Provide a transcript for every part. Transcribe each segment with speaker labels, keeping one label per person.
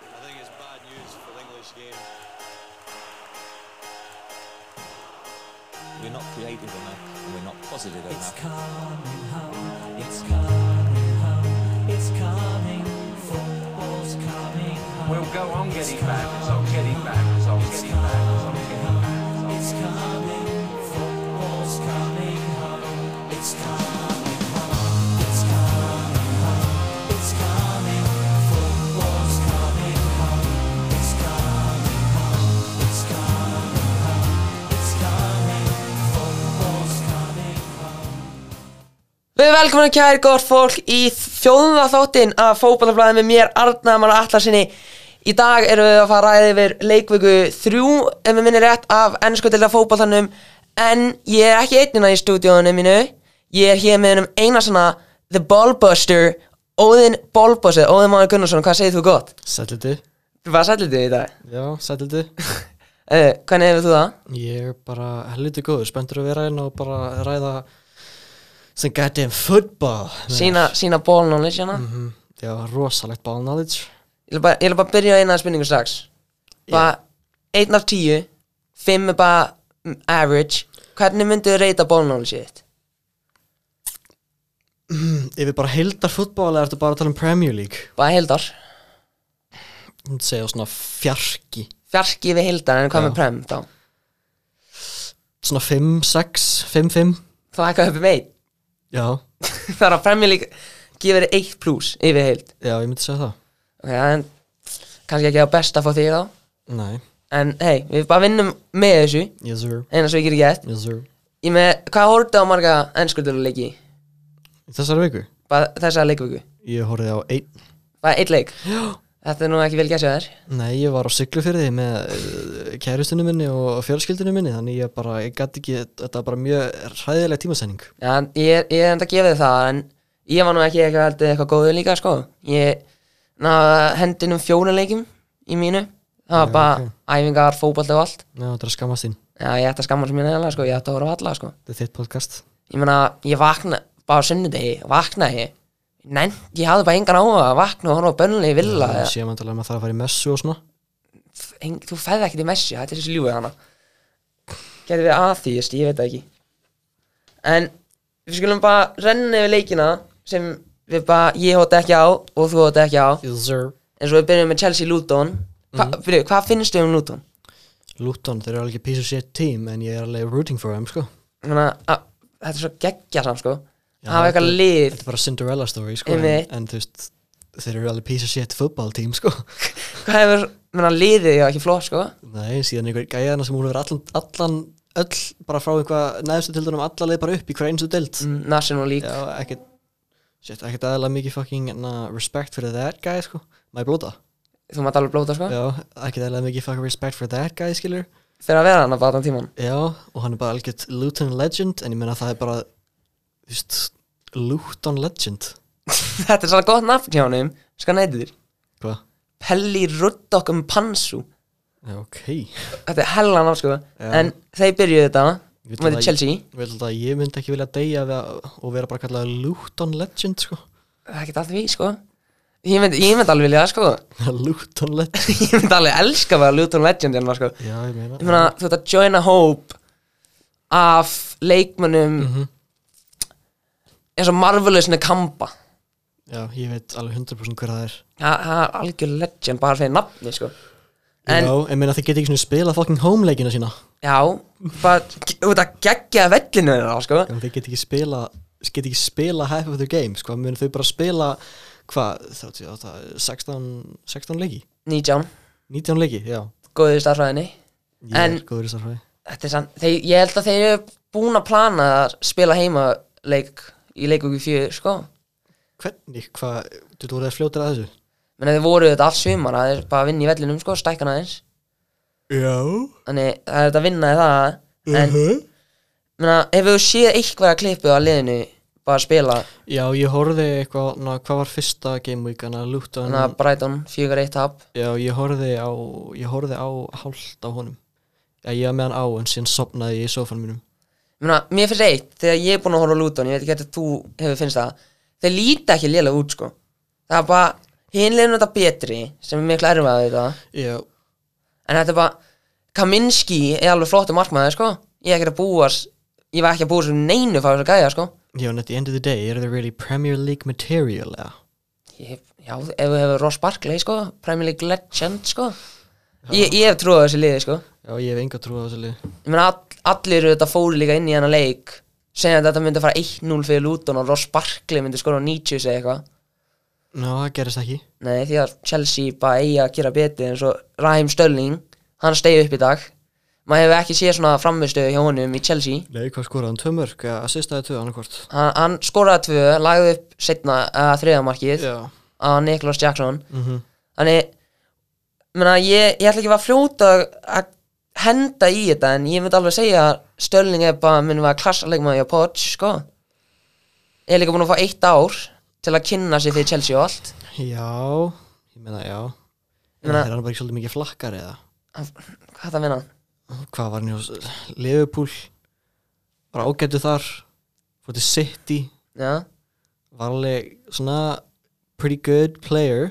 Speaker 1: bad news for the English game.
Speaker 2: We're not creative enough, and we're not positive
Speaker 3: It's
Speaker 2: enough.
Speaker 3: coming home, it's coming home, it's coming, football's coming home.
Speaker 4: We'll go on getting back, as I'm getting back, as I'm getting back, as I'm getting back. as I'm-
Speaker 3: It's coming, football's coming home, it's coming home, it's coming home, it's coming, football's coming home, it's coming home, it's coming home, it's coming, football's coming home.
Speaker 5: Við velkominum kæri góðar fólk í fjóðuna þáttinn af fókbalaflæði með mér Arnaðamann Atlasinni. Í dag erum við að fara að ræða yfir leikvöku þrjú, ef við minni rétt, af ennskotilda fókbaltanum. En ég er ekki einnina í stúdíónu mínu. Ég er hér með hennum eina svona The Ballbuster, Óðinn Ballbuster, Óðinn Máni Gunnarsson, hvað segir þú gott?
Speaker 6: Sætliti,
Speaker 5: Þú bara sætlið þig í dag.
Speaker 6: já, sætliti
Speaker 5: Uh, hvernig hefur þú það?
Speaker 6: Ég er bara helviti góður, spenntur að vera einn og bara ræða sem goddamn football
Speaker 5: Sína, sína ball knowledge hérna.
Speaker 6: Mhm, Já, rosalegt ball knowledge
Speaker 5: Ég vil bara, ég vil bara byrja á eina spurningu strax Bara einn af tíu Fimm er bara mm, average Hvernig myndu þið reyta bólnálisið þitt?
Speaker 6: Ef við bara heildar fútbol eða ertu bara að tala um Premier League
Speaker 5: Bara heildar
Speaker 6: Ég myndi segja svona fjarki
Speaker 5: Fjarki við heildar en hvað
Speaker 6: Já.
Speaker 5: með prem þá?
Speaker 6: Svona 5, 6, 5, 5
Speaker 5: Það er eitthvað upp um einn
Speaker 6: Já,
Speaker 5: Það er að premja líka Gifir þið eitt pluss yfir heild
Speaker 6: já, ég myndi segja það
Speaker 5: Ok, en kannski ekki á besta að fá því þá
Speaker 6: Nei,
Speaker 5: En hei, við bara vinnum með þessu
Speaker 6: yes sir,
Speaker 5: Einar svo ekki er gett
Speaker 6: yes sir
Speaker 5: Ég með, hvað horfðu á marga ennskulduruleiki?
Speaker 6: Í Þessari viku,
Speaker 5: Bara þessa leikvöku
Speaker 6: ég horfði á einn
Speaker 5: Bara einn leik Þetta er nú ekki vel gæsja þér
Speaker 6: Nei, ég var á syklufyrði með kæristinu minni og fjölskyldinu minni þannig ég bara, ég gæti ekki, þetta var bara mjög hræðileg tímasending
Speaker 5: Já, ég, ég er enda að gefa þið það en ég var nú ekki eitthvað, heldur eitthvað góður líka sko. ég náða hendinum fjóranleikum í mínu það var
Speaker 6: Já,
Speaker 5: bara
Speaker 6: ok.
Speaker 5: æfingar, fótboll og allt
Speaker 6: Já, þetta er að skammast þín,
Speaker 5: Já, ég ætti að skamma sem mín eða sko. ég ætti að horfa á alla sko.
Speaker 6: þetta er þitt podcast
Speaker 5: ég meina, ég vakna bara á sunnudegi vaknaði, nenn, ég hafði bara engan áhuga að vakna og horfa á bönnulegi villa
Speaker 6: Það
Speaker 5: eða-
Speaker 6: sé mann að maður þarf að fara í messu og svona
Speaker 5: Eng, þú fæði ekkert í messi, þetta er þessi ljúið hana getur verið atheist, ég veit það ekki en við skulum bara renna yfir leikina sem við bara, ég hóta ekki á og þú hóta ekki á
Speaker 6: Yes sir
Speaker 5: en svo við byrjum með Chelsea Luton Hva,
Speaker 6: Mhm.
Speaker 5: byrju, hvað finnst þau um Luton?
Speaker 6: Luton, þeir eru alveg piece of shit team en ég er alveg rooting for them, sko
Speaker 5: Þannig að að- þetta er svo geggja samt sko
Speaker 6: Já,
Speaker 5: að hafa eitthvað
Speaker 6: þetta-
Speaker 5: lið
Speaker 6: Þetta er bara Cinderella story, sko en,
Speaker 5: Einmitt.
Speaker 6: en þú veist, þeir eru alveg piece of shit football team, sko
Speaker 5: hvað hefur, menna liðið já ekki flott sko
Speaker 6: Nei, síðan einhver gæðana sem hún hefur allan, allan öll, bara frá einhvað neðstu tildunum alla leið bara upp í hver einstu dild
Speaker 5: Mm, National League,
Speaker 6: Já, ekkert Shit, ekkert aðalega mikið fucking na, respect for that guy, sko Má ég blóta?
Speaker 5: þú maður alveg blóta sko
Speaker 6: Já, ekkert aðalega mikið fucking respect for that guy, skilur
Speaker 5: fyrir að vera hann að bata tíman
Speaker 6: Já, og hann er bara algjört Luton Legend En ég meina það er bara, þú veist, Luton Legend
Speaker 5: þetta er svona gott nafn hjá hann sko hann heitir
Speaker 6: Hvað?
Speaker 5: Pelli Ruddock um Pansu
Speaker 6: Já, ok
Speaker 5: Þetta er hella ná sko En þeir byrjuðu þetta
Speaker 6: Ég
Speaker 5: Mæti
Speaker 6: að-
Speaker 5: Chelsea
Speaker 6: Ég veit að ég myndi ekki vilja deyja við að, og vera bara kallað Luton Legend, sko
Speaker 5: Það er ekki alltaf því sko Ég myndi, ég myndi alveg vilja það sko
Speaker 6: Luton Legend
Speaker 5: Ég myndi alveg elska að vera Luton Legend hérna sko
Speaker 6: Já, ég meina
Speaker 5: Ég meina þú ert að joina hóp Af leikmönnum eins og Marvelous Nekamba
Speaker 6: Já, ég veit alveg 100% hver það er
Speaker 5: Það það er algjör legend bara fyrir nafni sko En-
Speaker 6: Já, ég meina þeir geta ekki svona spilað fucking homeleikina sína
Speaker 5: Já Bara út að gegja vellinu þeirra sko
Speaker 6: Já, þeir get ekki spila get ekki spila half of the game sko, mun þau bara spila hvað, þá til þetta 16, 16 leiki,
Speaker 5: Nýtján
Speaker 6: 19 leiki, já
Speaker 5: Góðið starfræðinni
Speaker 6: ég en,
Speaker 5: En-
Speaker 6: er góður í starfræði
Speaker 5: Þetta er sann, þeir, ég held að þeir eru búin að plana að spila heimaleik í leikvöku fjör, sko.
Speaker 6: hvernig, hvað, þú voruð að fljóta að þessu
Speaker 5: Menn þeir voru þetta allt sumar að þeir bara vinna í vellinum, sko, stækkan aðeins.
Speaker 6: já
Speaker 5: Þannig það er þetta að vinna í það. En, uh
Speaker 6: Mhm.
Speaker 5: menna, hefur þú séð eitthvað að klippu á liðinu bara að spila,
Speaker 6: já, ég horfði eitthvað, na, hvað var fyrsta game week hana, Luton,
Speaker 5: þannig að hérna, Brighton fjögur eitt tap.
Speaker 6: já, ég horfði á ég horfði á hálft á honum já, ég var með hann á, en síðan sopnaði ég í sofan mínum
Speaker 5: Menna, mér finnst eitt, þegar ég er búin að horfa á Luton, ég veit ekki hvernig þú hefur finnst það, þeir líta ekki lélega út, sko. Það er bara, hinleginu þetta betri sem er miklu erfið að þetta
Speaker 6: Já,
Speaker 5: en þetta er bara Kaminski er alveg flottu markmaður sko ég er ekkert að búast ég var ekki að búast um neinu fá þessu gæja sko
Speaker 6: já, en at the end of the day, eru þið really Premier League material, eða?
Speaker 5: ég, já, ef við hefur Ross Barkley sko Premier League legend sko ég, ég hef trúið á þessu liði sko
Speaker 6: Já, ég hef enga trú á þessu lið.
Speaker 5: ég meina all, allir eru þetta fóru líka inn í hennar leik segja að þetta myndi að fara 1-0 fyrir Luton og Ross Barkley myndi skora á 90 segja eitthvað
Speaker 6: Ná, það gerist ekki.
Speaker 5: nei því að Chelsea bara eigi að gera betur eins og Raheem Stölling hann stegi upp í dag maður hefur ekki séð svona framvistöðu hjá honum í Chelsea
Speaker 6: Nei, hvað skoraði hann? Tvö mörg, eða assistaði tvö annarkvort.
Speaker 5: hann, hann skoraði tvö, lagði upp setna uh, þriðamarkið
Speaker 6: Já.
Speaker 5: að Niklas Jackson
Speaker 6: Mm
Speaker 5: þannig menna, ég, ég ætla ekki að vera fljóta að henda í þetta en ég myndi alveg segja að Stölling er bara minn var klassalegmaði á Poch sko. ég er líka búin að fá eitt ár til að kynna sig fyrir Chelsea og allt
Speaker 6: Já, ég meina, já.
Speaker 5: Ég
Speaker 6: En
Speaker 5: meina-
Speaker 6: er hann bara ekki svolítið mikið flakkar, eða?
Speaker 5: Hann- hvað það vinna?
Speaker 6: Hvað var hann hjá s- Liverpool? Var ágættu þar? Fótið City?
Speaker 5: Já.
Speaker 6: Var alveg svona pretty good player.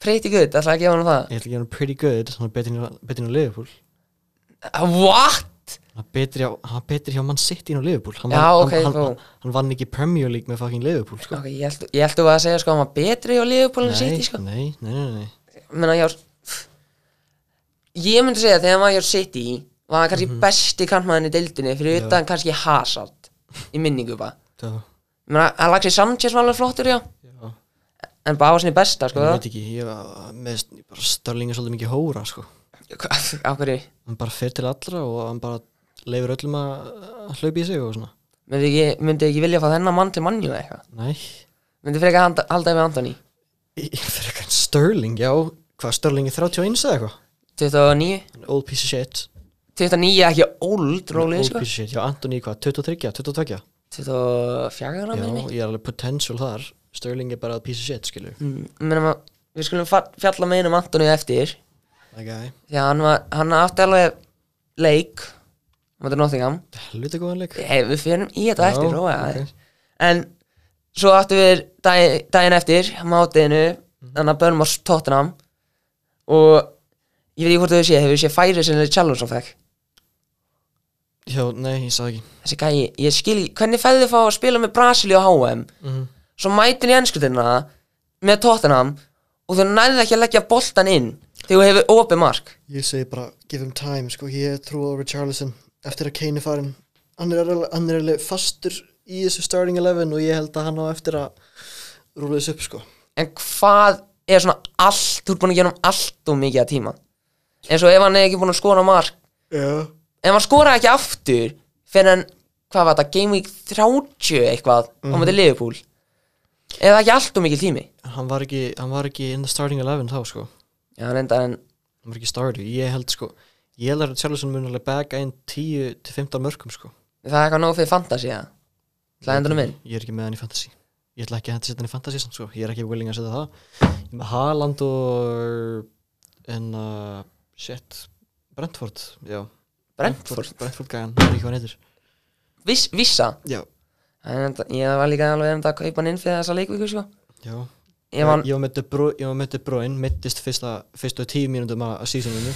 Speaker 5: pretty good, ætla að gefa hann það
Speaker 6: Ég ætla ekki að hann pretty good, hann er betri en- betri en á Liverpool.
Speaker 5: what?
Speaker 6: Hann er betri, á, hann er betri hjá Man City en á Liverpool. Hann
Speaker 5: Já,
Speaker 6: vann-
Speaker 5: ok,
Speaker 6: hann,
Speaker 5: þó.
Speaker 6: hann, hann vann ekki Premier League með fucking Liverpool, sko.
Speaker 5: Okay, ég held- ég held að það að segja sko að hann var betri á Liverpool en City
Speaker 6: nei,
Speaker 5: sko
Speaker 6: nei, nei, nei, nei.
Speaker 5: menna, já, pff. ég myndi segja að þegar hann var hjá City var hann kannski besti kantmaðurinn í deildinni fyrir
Speaker 6: Mhm. Já.
Speaker 5: utan kannski Hazard í minningu bara
Speaker 6: Það,
Speaker 5: menna, hann lagði sér Sanchez var alveg flottur já
Speaker 6: já.
Speaker 5: en bara á sinni besta sko
Speaker 6: Ég veit ekki, ég var með bara Störling er svolítið mikið hóra sko.
Speaker 5: Hva- á hverju
Speaker 6: Hann bara fer til allra og hann bara leifur öllum að að hlaupa í sig og svona.
Speaker 5: myndi ekki, myndi ekki vilja að fá þennan mann til mannjú eða eitthvað
Speaker 6: Nei,
Speaker 5: myndi frekar handa- halda við Antoni
Speaker 6: ég fer eitthvað Störling, já, hvað Störling er 31 eða eitthvað?
Speaker 5: 29
Speaker 6: An Old piece of shit.
Speaker 5: 29 er ekki old rólið
Speaker 6: Old
Speaker 5: sko
Speaker 6: piece of shit, já, Antoni hvað, 23, 22?
Speaker 5: 24 ára
Speaker 6: Já,
Speaker 5: með mig
Speaker 6: ég er alveg potential þar. Störling er bara a piece of shit, skilju.
Speaker 5: menna Mm, við skulum fa- fjalla með einum Antoni eftir
Speaker 6: Það gæði,
Speaker 5: því að hann var hann átti alveg leik mútið Nottingham
Speaker 6: helvita góðan leik.
Speaker 5: hey, við fyrir í þetta
Speaker 6: Já,
Speaker 5: eftir róa
Speaker 6: ok.
Speaker 5: okay. en svo áttu við dag, daginn eftir mátiðinu þannig að börnum á Tottenham og ég veit ekki hvort þau sé hefur sé færið sinni challenge of þekk
Speaker 6: Já, nei, ég sagði ekki.
Speaker 5: þessi gæi, ég skil ekki- hvernig fæði þið fá að spila með Brasili á HM
Speaker 6: Mhm.
Speaker 5: svo mætin í ennskutina með Tottenham og þau nærði ekki að leggja boltan inn þegar þú hefur opið mark
Speaker 6: Ég segi bara, give him time, sko, ég trú á Richarlison eftir að Kane er farin. Hann er alveg- hann er alveg fastur í þessu starting 11 og ég held að hann á eftir að rúla þessu upp, sko.
Speaker 5: en hvað er svona allt, þú ert búin að gera um allt og mikið að tíma eins og ef hann er ekki búin að skora mark
Speaker 6: Já.
Speaker 5: ef hann skoraði ekki aftur fyrir en, hvað var þetta, Game Week 30 eitthvað,
Speaker 6: Mhm.
Speaker 5: mm -hmm. á móti Liverpool er það ekki allt og mikil tími
Speaker 6: Hann var ekki, hann var ekki in the starting 11 þá, sko.
Speaker 5: já, reyndar en,
Speaker 6: Hann var ekki starter. Ég held, sko, ég held að Richarlison mun alveg baka inn 10-15 mörgum, sko.
Speaker 5: það er eitthvað nóg fyrir fantasy eða? Það er endanum minn
Speaker 6: Ég er ekki með hann í fantasy. Ég ætla ekki að setja hann í fantasy, samt, sko. Ég er ekki willing að setja það. Ég er með Haaland og, en, uh, shit, Brentford, já.
Speaker 5: Brentford,
Speaker 6: Brentford gæðan, það er ekki hvað hann heitir
Speaker 5: Viss, vissa
Speaker 6: Já,
Speaker 5: Það er enda- ég var líka alveg um þetta að kaupa hann inn fyrir þessa leikvíku sko.
Speaker 6: já
Speaker 5: ég var,
Speaker 6: Ég var með De Bruyne- ég var með De Bruyne, mittist fyrsta, fyrstu tíu mínúndum að sísuninu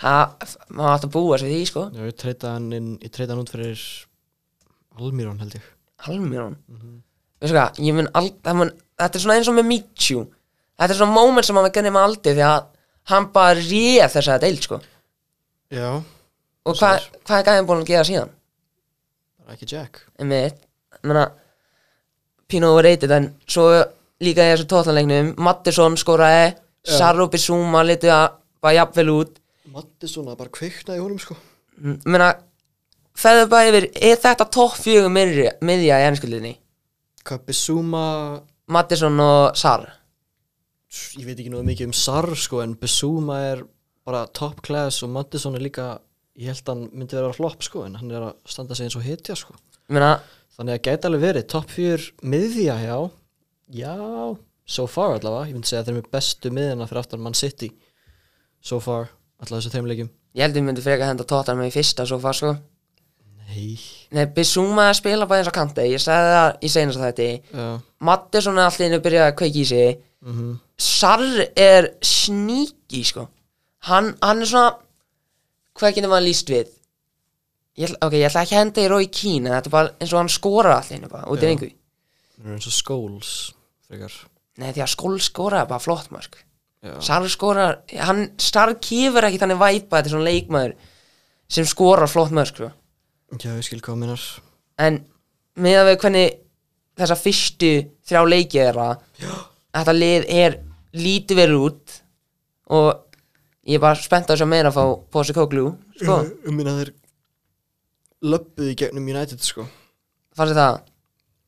Speaker 5: það, maður átt að búa svo því sko.
Speaker 6: Já, ég treyta hann inn, ég treyta hann út fyrir Almirón held ég
Speaker 5: Almirón Veistu hvað, ég mun aldrei mun, Þetta er svona eins og með Michu Þetta er svona moment sem hann var gennið með aldrei Því að hann bara réð þess að deild sko.
Speaker 6: Já
Speaker 5: Og hva, hvað er gæðin búin að gera síðan?
Speaker 6: Bara ekki Jack
Speaker 5: Einmitt, menna Pino var reytið en svo líka í þessu tóttanleiknum Mattisson skoraði
Speaker 6: Já.
Speaker 5: Sarro Bissúma litið að bara jafnvel út
Speaker 6: Matti svona bara kviknaði í honum sko
Speaker 5: M- menna Feður bara yfir, er þetta topp fjögur miðja miðja í ennskuldinni?
Speaker 6: Kappi Suma
Speaker 5: Mattisson og Sarr
Speaker 6: Ég veit ekki nú mikið um Sar sko En Besuma er bara top class Og Matti svona er líka Ég held hann myndi vera flop sko En hann er að standa sig eins og hitja sko
Speaker 5: Menna,
Speaker 6: Þannig að gæti alveg verið topp 4 miðja, já Já, so far allavega Ég myndi segja að þeir eru með bestu miðjana fyrir aftan Man City So far, allavega þessu þreim leikjum
Speaker 5: ég held ég myndi frekar henda tóttanum í fyrsta svo far sko
Speaker 6: Nei, Nei
Speaker 5: Nei, Bissúma spila bara eins og kanta Ég sagði það í seinast þætti
Speaker 6: Já,
Speaker 5: Mattisson er alltaf inn að byrja að kveiki í sig
Speaker 6: mhm,
Speaker 5: Sarr er sníki sko. hann, hann er svona hvað getur maður líst við ég, ætla- ok, ég ætla ekki að henda í Rói Kín en þetta er bara eins og hann skorar allir bara, út í
Speaker 6: Já.
Speaker 5: engu
Speaker 6: það er eins og skóls Frekar
Speaker 5: nei því að skól skorar er bara flott mark
Speaker 6: Já,
Speaker 5: Sarr skorar, hann Sarr kýfur ekki þannig væpa, þetta er svona leikmaður sem skorar flott mark sko.
Speaker 6: Já ég skil hvað minnar
Speaker 5: en með að við hvernig þessa fyrstu þrjá leiki þeirra þetta lið er lítið verið út og ég er bara spennt að sjá meira að fá Pósi Kóklú sko,
Speaker 6: Um minna þeir Löppuðu í gegnum United sko
Speaker 5: fannst þér það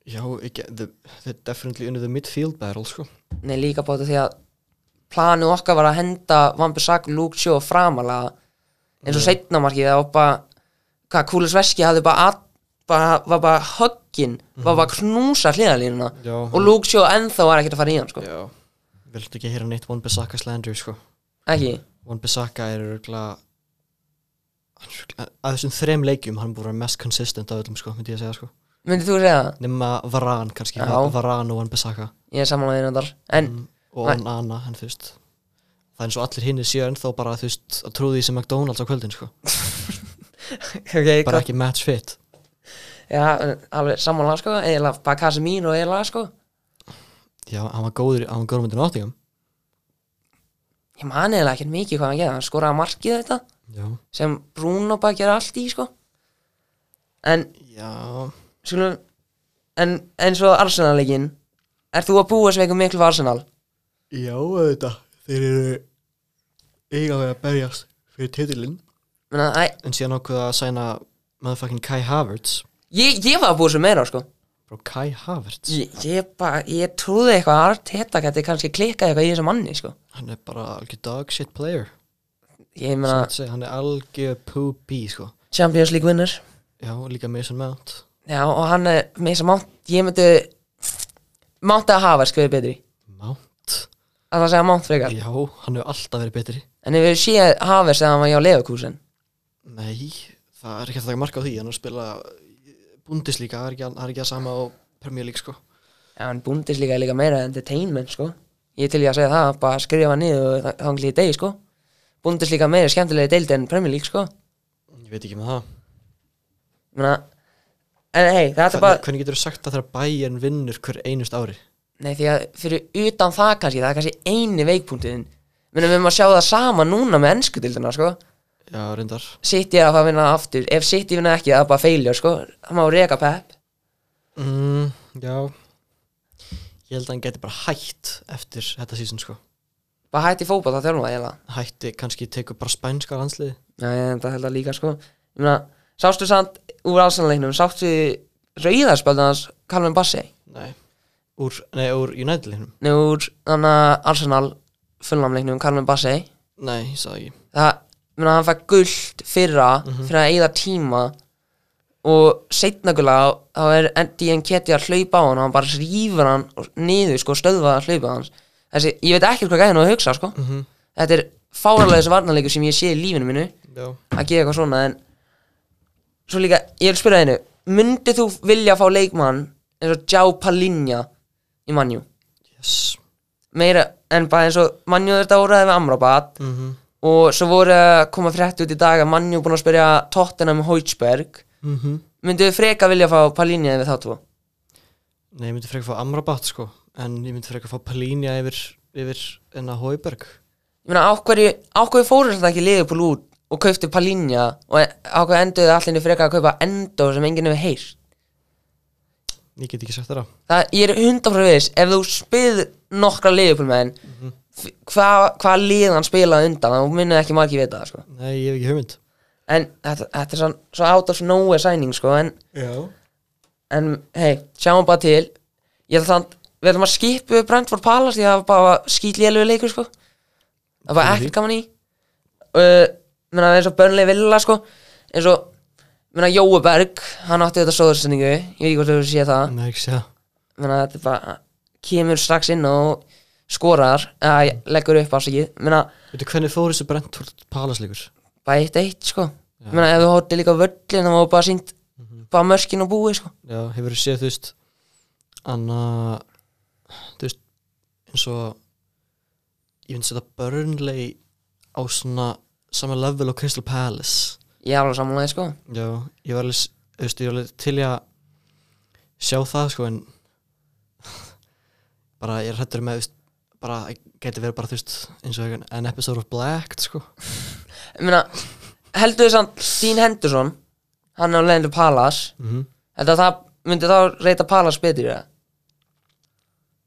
Speaker 6: Já, ekki, the, they're definitely under the midfield battle sko
Speaker 5: nei líka báta því að planu okkar var að henda Vambi Sak, Luke Sjó framalega eins og setnamarkið það var bara hvað Kúlis Veski hafði bara, að, bara var bara höggin, var bara að knúsa hliðalínuna
Speaker 6: Já.
Speaker 5: og Luke Sjó ennþá var ekkert að fara í hann sko,
Speaker 6: Mhm. Já Viltu ekki heyra neitt One Bissaka slander sko
Speaker 5: ekki
Speaker 6: One Bissaka er örgulega að þessum þrem leikjum hann búið að vera mest consistent af öllum sko, myndi ég að segja sko
Speaker 5: myndið þú segja það?
Speaker 6: nema Varan kannski,
Speaker 5: Já.
Speaker 6: Varan og Van Bissaka
Speaker 5: ég er samanlega einandar en
Speaker 6: og hann Anna, hann þú veist það er eins og allir hinni séu ennþá bara þú veist að trúði í sem McDonalds á kvöldin sko
Speaker 5: ok,
Speaker 6: bara
Speaker 5: gott
Speaker 6: ekki match fit
Speaker 5: já, en alveg samanlega sko eiginlega bara kassi mín og eiginlega sko
Speaker 6: já, hann var góður, hann var góður myndin áttingum
Speaker 5: ég man eiginlega ekkert mikið hvað hann gerði hann skoraði markið þetta
Speaker 6: já,
Speaker 5: sem Bruno bara gera allt í sko en
Speaker 6: já,
Speaker 5: skulum en eins og Arsenal-leikin er þú að búa sem eitthvað miklu fyrir Arsenal
Speaker 6: já þetta þeir eru eiga við að berjast fyrir titilinn
Speaker 5: Menna, æ,
Speaker 6: en síðan ákveða að sæna motherfucking Kai Havertz
Speaker 5: ég, ég var að búa sem meira sko
Speaker 6: bro, Kai Havertz
Speaker 5: ég, ég, bara, ég trúði eitthvað að Arteta geti kannski klikkað eitthvað í þessum manni sko
Speaker 6: hann er bara algjör dog shit player
Speaker 5: ég
Speaker 6: Sem
Speaker 5: meina
Speaker 6: þetta segja, hann er algjör poopy sko
Speaker 5: Champions League winner
Speaker 6: já, og líka Mason Mount
Speaker 5: já og hann er með þess að mátt ég myndi mátt að hafa sko betri
Speaker 6: Mount
Speaker 5: að það segja Mount frekar
Speaker 6: Já, hann hefur alltaf verið betri
Speaker 5: en ef við séð Havers þegar hann var hjá Leverkusen
Speaker 6: Nei, það er ekki að taka marka á því Hann er að spila eh, Bundesliga Það er ekki, það er ekki að sama á Premier League sko
Speaker 5: já en Bundesliga er líka meira entertainment sko ég er til ég að segja það bara skrifa niður þá hann glýði degi sko Bundesliga er meira skemmtilegi deild en Premier League sko
Speaker 6: Ég veit ekki með það
Speaker 5: Menna, en hei þetta er
Speaker 6: Hvernig,
Speaker 5: bara
Speaker 6: hvernig getur þú sagt að þegar Bayern vinnur hver einust ári
Speaker 5: nei því að fyrir utan það kannski það er kannski eini veikpunktinn Menna, við erum að sjá það sama núna með ennsku dildina sko
Speaker 6: Já, reyndar
Speaker 5: City er að fara að vinna aftur ef City vinna ekki það er bara failure sko það má reka Pep
Speaker 6: mm, Já Ég held að hann geti bara hætt Eftir þetta sísón sko
Speaker 5: bara hætti fótball það þjálfum að
Speaker 6: Hætti kannski tekur bara spænska landsliði
Speaker 5: Já, ég enda held að líka sko Ég meina, sástu samt úr ásanleiknum Sástu rauðarspöldans Kalvin Bassi
Speaker 6: Nei Úr, nei, úr United liðnum
Speaker 5: Nei, úr þannig að Arsenal fullnamleiknum Kalvin Bassi
Speaker 6: Nei, ég sagði ekki
Speaker 5: Það, ég meina, hann fæk gullt fyrra Fyrir að eigða tíma Og seinnagulega Þá er Endi en Keti að hlaupa á hann Og hann bara rífur hann niður sko Stöðvaða hlaupa hans Þessi, ég veit ekkert hvað gæði nú að hugsa sko Þetta er fáralega þessi varnarleikur sem ég sé í lífinu mínu
Speaker 6: Já
Speaker 5: að gera eitthvað svona en svo líka, ég vil spyrja þínu myndið þú vilja fá leikmann eins og Jao Palinja í Manju
Speaker 6: Yes
Speaker 5: meira en bara eins og Manju þetta voruði við Amrabat
Speaker 6: mm
Speaker 5: og svo voru að koma frétt út í dag að Manju búin að spyrja Tottenham Hautsberg
Speaker 6: Mhm.
Speaker 5: myndið þú freka vilja fá Palinja við þá tvo
Speaker 6: Nei, ég myndi frekar fá Amrabat sko En ég myndi frekar fá Palinja yfir, yfir hérna enna Hauberg
Speaker 5: ég meina á hverju, á hverju fóru þetta ekki liðupúl út og kauftu Palinja og á hverju enduðu allinni freka að kaupa Endo sem enginn hefur heyrt
Speaker 6: Ég get ekki sagt það
Speaker 5: það, ég er hundanfrá viss ef þú spið nokkra liðupúlmenn mm -hmm. hvað hva liðan spilaði undan þá munið ekki margir vita það sko.
Speaker 6: Nei, ég hef ekki hugmynd
Speaker 5: en þetta, þetta er svo, svo out of nowhere sæning sko, en,
Speaker 6: Já
Speaker 5: en hei, sjáum bara til ég ætla þannig, við ætlum að skipu Brentford Palace því að það var bara skýtlélögu leikur sko. það var
Speaker 6: Fyrir því.
Speaker 5: ekkert gaman í uh, menna, eins og Burnley Villa sko, eins og menna, Jóeberg, hann átti þetta sóðursendingu ég veit ekki hvort þú sé það
Speaker 6: Nei, ekki segja
Speaker 5: menna, þetta er bara kemur strax inn og skorar eða leggur upp ásakið menna,
Speaker 6: Veitu hvernig fór þessu Brentford Palace leikur?
Speaker 5: bara eitt eitt sko menna, ef þú hótti líka völlin það var bara sínt bara mörkin og búið sko.
Speaker 6: Já, hefur þú séð þú veist Anna Þú veist eins og Ég finnst þetta Burnley Á svona sama level og Crystal Palace
Speaker 5: ég er alveg samanlega sko.
Speaker 6: Já, ég var alveg s- þú veist, Ég var alveg til í að Sjá það sko en Bara ég er hættur með þú veist, Bara gæti verið bara þú veist Eins og en episode of Blacked sko
Speaker 5: Ég meina, heldur þess að Dean Henderson hann er á leiðinu Palace
Speaker 6: mm -hmm.
Speaker 5: þetta það myndi þá reyta Palace betur eða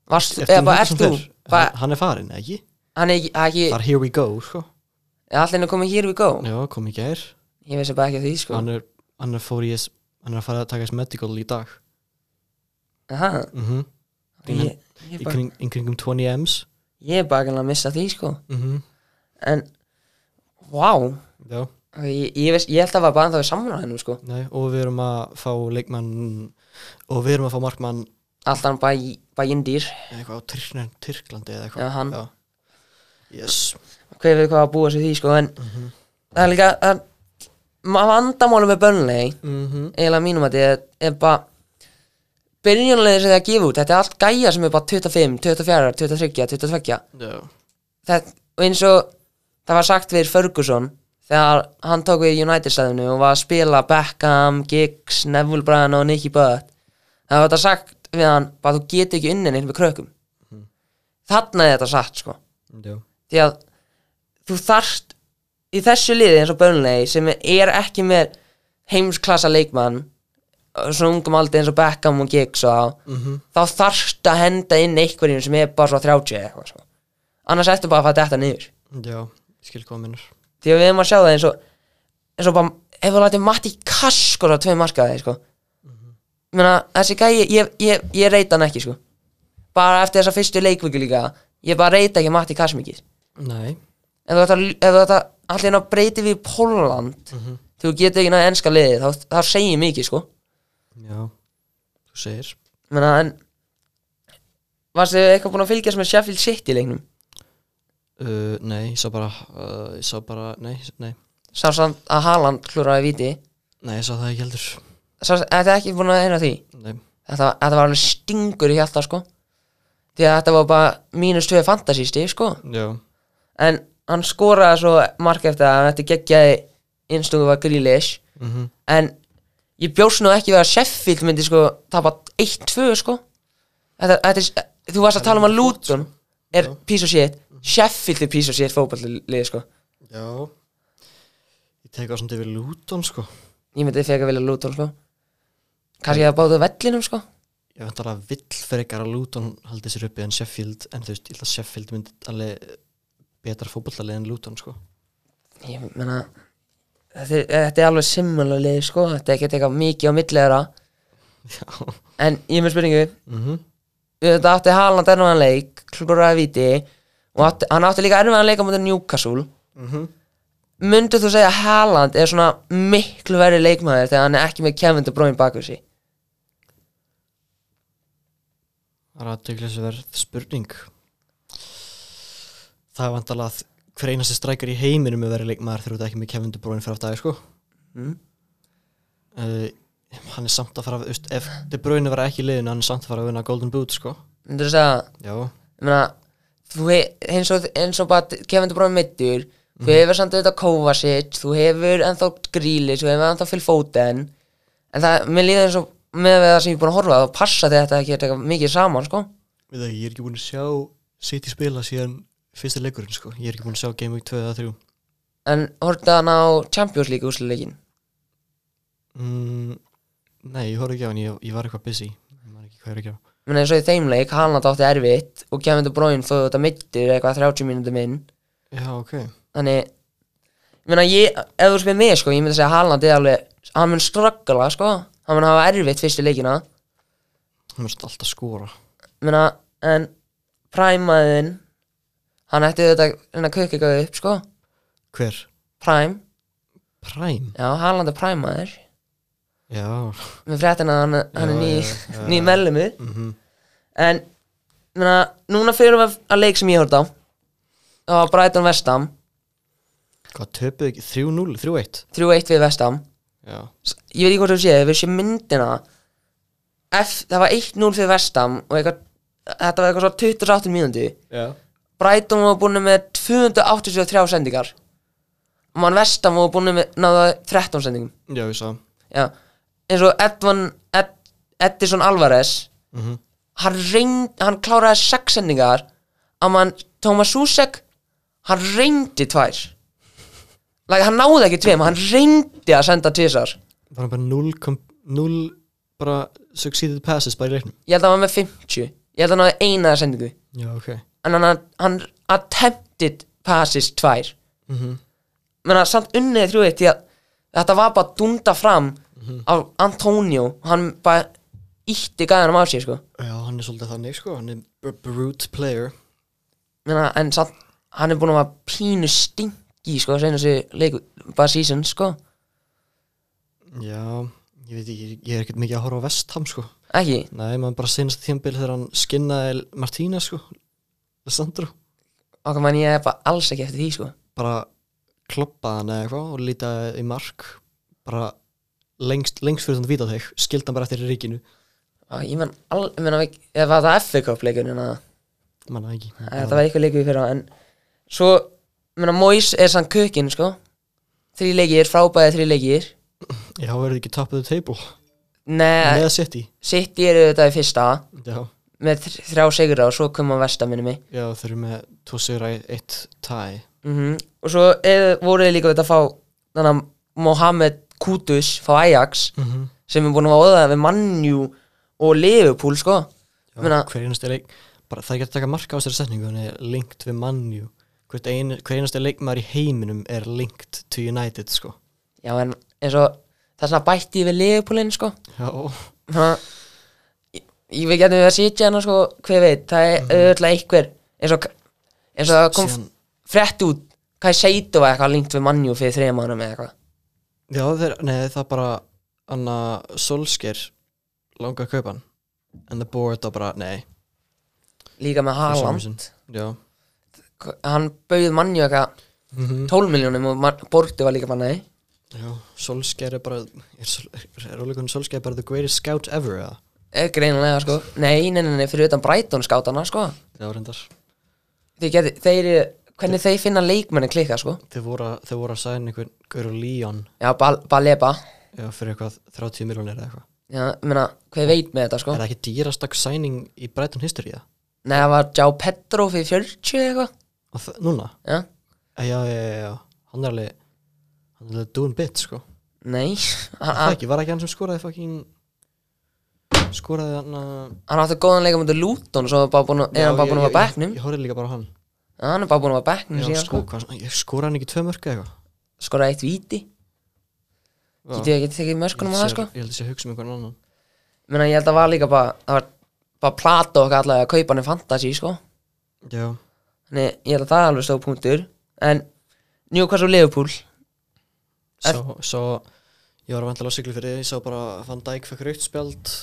Speaker 5: Varst, eða bara ert þú bara,
Speaker 6: Hann er farin, eða ekki?
Speaker 5: hann er ekki, það er
Speaker 6: Það
Speaker 5: ekki
Speaker 6: er Here We Go sko
Speaker 5: eða allir er komið hér við gó
Speaker 6: Já, kom í gær
Speaker 5: ég veist bara ekki af því sko
Speaker 6: hann er, hann er fór í þess hann er að fara að taka þess medical í dag
Speaker 5: Aha,
Speaker 6: mm -hmm.
Speaker 5: ég, ég,
Speaker 6: í
Speaker 5: ég, bara,
Speaker 6: kring, í kringum 20 M's
Speaker 5: ég er bara ekki að missa því sko
Speaker 6: mm -hmm.
Speaker 5: en, wow
Speaker 6: já,
Speaker 5: ég, ég, veist, ég held að það var bara ennþá í samfélag hennum sko
Speaker 6: nei, og við erum að fá leikmann og við erum að fá markmann
Speaker 5: allt hann bara, í- bara indýr
Speaker 6: eitthvað á Tyrkland, Tyrklandi eða eitthvað
Speaker 5: Já, hann.
Speaker 6: yes
Speaker 5: hver veit hvað að búa sig því sko en það er líka það er- ma- vandamálið með bönnlegi
Speaker 6: mm -hmm.
Speaker 5: eiginlega mínum að þetta er bara byrjunlega sem það gefa út þetta er allt gæja sem er bara 25, 24, 23, 22
Speaker 6: já,
Speaker 5: þetta, og eins og það var sagt við Ferguson þegar hann tók við United-stæðinu og var að spila Beckham, Giggs, Neville Bryan og Nicky Butt það var þetta sagt við hann bara þú getur ekki unnin einhver krökkum þarna er þetta satt sko
Speaker 6: já,
Speaker 5: því að þú þarft í þessu liði eins og Burnley sem er ekki með heimsklassa leikmann og svona ungum aldrei eins og Beckham og Giggs og, mm þá þarft að henda inn einhverjum sem er bara svo 30 eða eitthvað sko. annars ertu bara að fara þetta niður
Speaker 6: já, ég skil hvað minnur
Speaker 5: því að við erum að sjá það eins og eins og bara, ef við látið Matti Kass sko á tvei markaði sko ég meina, þessi gæi, ég, ég, ég reyta hann ekki sko bara eftir þessa fyrstu leikvöku líka ég bara reyta ekki Matti Kass mikið
Speaker 6: nei,
Speaker 5: ef þú ætlar að- ef þú ætlar allir inn á breyti við Pólland þú getur ekki náðu ennska liðið þá, þá segir mikið sko
Speaker 6: já þú segir
Speaker 5: Ég meina, en varstu eitthvað búin að fylgjast með Sheffield City leiknum
Speaker 6: uh, nei, ég sá bara uh, ég sá bara, nei, nei
Speaker 5: sá samt að Haaland klúraði viti
Speaker 6: nei, ég sá það ekki heldur
Speaker 5: sá, þetta er ekki búin að heyra því
Speaker 6: nei,
Speaker 5: þetta, þetta var alveg stingur í hjarta sko því að þetta var bara mínus 2 fantasísti sko
Speaker 6: já,
Speaker 5: en hann skoraði svo mark eftir það hann þetta geggjaði innstungu var Grealish
Speaker 6: Mhm.
Speaker 5: en ég bjóst nú ekki við að Sheffield myndi sko tapa 1-2 sko þetta, þetta er, þú varst að tala um að Luton er piece of shit Sheffield er piece of shit fótballið sko
Speaker 6: já ég tek á samt yfir Luton sko
Speaker 5: ég myndi feka vilja Luton sko kannski að báðu vellinum sko
Speaker 6: ég veit alveg að vill frekar að Luton haldi sér uppi en Sheffield en þú veist, ég held að Sheffield myndi alveg betra fótballalið en Luton sko
Speaker 5: ég meina þetta er, þetta er alveg simmulega lið sko þetta er ekki eitthvað mikið á milli þeirra
Speaker 6: já,
Speaker 5: en ég er með spurningu
Speaker 6: mm -hmm.
Speaker 5: við þetta átti Haaland erfiðan leik klúraði viti og átti, hann átti líka erfiðan leik á mútið Newcastle myndu þú segja að Haaland er svona miklu verri leikmaður þegar hann er ekki með Kevin De Bruyne baku sig
Speaker 6: það er aðteglisverð spurning það er vantalega að hver einasti strækar í heiminum er verið leikmaður þegar þú ert ekki með Kevin De Bruyne fyrir aftagi sko
Speaker 5: Mhm.
Speaker 6: uh, hann er samt að fara að- þú veist, ef De Bruyne var ekki í liðinu hann er samt að fara að vinna Golden Boot sko
Speaker 5: myndu þú segja
Speaker 6: já,
Speaker 5: ég meina, þú he- eins og, eins og bara Kevin De Bruyne mittur þú hefur samt auðvitað Kovacic þú hefur ennþá Grealish þú hefur ennþá Phil Foden en það, mér líður eins og með við það sem ég er búin að horfa á, þá passa þetta ekki eitthvað mikið saman sko
Speaker 6: við það, ég er ekki búin að sjá City spila síðan fyrsta leikurinn sko ég er ekki búin að sjá Game Week 2 eða 3
Speaker 5: en horfði hann á Champions League úsleikin
Speaker 6: Mm, nei, ég horfði ekki á hann, ég, ég var eitthvað busy Ég man ekki hvað ég er ekki á
Speaker 5: menn eins og í þeim leik, Haaland átti erfitt og Kevin De Bruyne þóðu þetta mittur eitthvað 30 mínútur minn
Speaker 6: Já, ok
Speaker 5: þannig, ég meina ég ef þú spyrir mig sko, ég myndi að segja að Haaland er alveg hann mun straggala sko hann mun hafa erfitt fyrstu leikina
Speaker 6: Hann mörst alltaf skora
Speaker 5: Ég meina, en Prime-maðin hann ætti þetta hérna kukka eitthvað upp sko
Speaker 6: Hver?
Speaker 5: Prime,
Speaker 6: Prime?
Speaker 5: já Haaland er Prime-maður
Speaker 6: Já
Speaker 5: með fréttina að hann, hann er
Speaker 6: Já,
Speaker 5: ný,
Speaker 6: já, já,
Speaker 5: ný
Speaker 6: já.
Speaker 5: mellumur
Speaker 6: mm -hmm.
Speaker 5: en mena, núna fyrir við að leik sem ég horfði á það var Brighton Vestam
Speaker 6: Hvað töpuðu ekki? 3-0, 3-1
Speaker 5: 3-1 við Vestam
Speaker 6: já,
Speaker 5: ég veit ekki hvort þú séð, við séum myndina F, það var 1-0 fyrir Vestam og eitthvað, þetta var eitthvað svo 28 mínúti
Speaker 6: já.
Speaker 5: Brighton var búin með 283 sendingar og mann Vestam var búin með náða 13 sendingum
Speaker 6: já, ég sá
Speaker 5: Já. eins og Edvan Ed, Edison Alvarez
Speaker 6: Mhm.
Speaker 5: hann, reynd, hann kláraði 6 sendingar að mann Thomas Susek hann reyndi tvær like, hann náði ekki tveim, hann reyndi að senda tvisar
Speaker 6: var hann bara 0, kom- 0 bara succeeded passes bara í leiknum
Speaker 5: ég held að hann var með 50 ég held að hann náði einaða sendingu
Speaker 6: já, ok,
Speaker 5: en hann, hann attempted passes tvær mm menna samt unnið þrjú eitt því að þetta var bara dunda fram af Antonio hann bara ítti gæðanum á sig sko.
Speaker 6: já, hann er svolítið þannig sko hann er br- brute player
Speaker 5: menna, en samt hann er búin að vera pínu stingi sko, þessi leiku, bara season sko.
Speaker 6: já, ég veit ekki, ég er ekkert mikið að horfa á vestham sko
Speaker 5: ekki,
Speaker 6: nei, maður bara senast tímbil þegar hann skinnaði Martína sko Sandro,
Speaker 5: okkar mann ég er bara alls ekki eftir því sko.
Speaker 6: bara kloppaði hann eða eitthvað og lítaði í mark bara lengst, lengst fyrir þannig vítað þig, skildi hann bara eftir í ríkinu
Speaker 5: og ég menn, al, ég menna ef var það FA Cup leikurinn að
Speaker 6: manna ekki
Speaker 5: þetta var eitthvað leikur í fyrra en svo, menna Mois er sann kökin sko þrý leikir, frábæði þrý leikir
Speaker 6: já, verður ekki top of the table
Speaker 5: Nei,
Speaker 6: með City
Speaker 5: City eru þetta í fyrsta
Speaker 6: já
Speaker 5: með þr- þrjá sigra og svo koma Vesta minni mig
Speaker 6: Já, þeir eru með tvo sigra í eitt tæ
Speaker 5: mm og svo eð, voru þið líka við þetta að fá þannig að Mohamed Kutus fá Ajax sem er búin að váða við Manju og Liverpool sko
Speaker 6: Já,
Speaker 5: Meina,
Speaker 6: Hver einasti leik bara, Það er ekki hægt að taka marka á þessari setningu Hún er linkt við mannjú Hver einasti leikmaður í heiminum er linkt to United sko.
Speaker 5: já en eins og það er svona bætti við Liverpoolin sko
Speaker 6: Já,
Speaker 5: Þannig að ég- ég veit ekki að við að sitja hérna sko hver veit, það er
Speaker 6: Mhm.
Speaker 5: auðvitað einhver eins og, eins og það kom
Speaker 6: Síðan-
Speaker 5: frétt út hvað ég seitu var eitthvað linkt við Manju fyrir þrejum ánum eða eitthvað
Speaker 6: Já þeir, nei, það er bara Anna Solskjær langa að kaupa hann En the board þá bara, nei
Speaker 5: líka með
Speaker 6: for some
Speaker 5: Haaland
Speaker 6: reason. Já
Speaker 5: hann bauð manni eitthvað 12 miljónum og man- Bordi var líka bara nei
Speaker 6: Já, Solskjær er bara Er, Sol- er Óleikon Solskjær bara the greatest scout ever eða?
Speaker 5: Eh, greinilega sko nei, nei, nei, nei fyrir utan Brighton skátana sko
Speaker 6: Já, reyndar
Speaker 5: þeir, geti, þeir eru- hvernig þeir finna leikmenni klika sko
Speaker 6: Þeir voru, að- þeir voru að sæna einhvern Gaur og Leon
Speaker 5: já, Bal- Baleba
Speaker 6: Já, fyrir eitthvað 30 miljonir eða eitthvað
Speaker 5: já, meina, hver veit með þetta sko
Speaker 6: Er það ekki dýrastak sæning í Brighton history það?
Speaker 5: nei, það var Joe Petro fyrir 40 eða eitthvað
Speaker 6: Og það- Núna?
Speaker 5: já,
Speaker 6: Eh, Já, já, já, já, hann er alveg hann er alveg doing bit, sko
Speaker 5: nei hann,
Speaker 6: Það
Speaker 5: hann,
Speaker 6: ekki, var ekki hann sem skoraði fucking skoraði hann að
Speaker 5: hann átti góðan leika mútið Luton svo er bara búin að- er hann bara
Speaker 6: Já,
Speaker 5: búin að
Speaker 6: ég-
Speaker 5: vera bæknum
Speaker 6: Ég, ég horfði líka bara á hann
Speaker 5: hann er bara búin að vera bæknum
Speaker 6: já,
Speaker 5: síðan
Speaker 6: sko,
Speaker 5: sko
Speaker 6: hvað, ég skoraði hann ekki tvö mörg eitthvað
Speaker 5: skoraði eitt víti getið ekki tekið mörkunum á það sko
Speaker 6: Ég held að sé að hugsa um einhvern annan
Speaker 5: Menna, ég held að það var líka bara það var bara plata okkar allavega að kaupa hann í fantasy sko.
Speaker 6: Já,
Speaker 5: þannig ég held að það er alveg stóð punktur en Newcastle og Liverpool
Speaker 6: svo, svo ég var að vantla lásikli fyrir því, ég sá bara Van Dijk fekk raukt spjald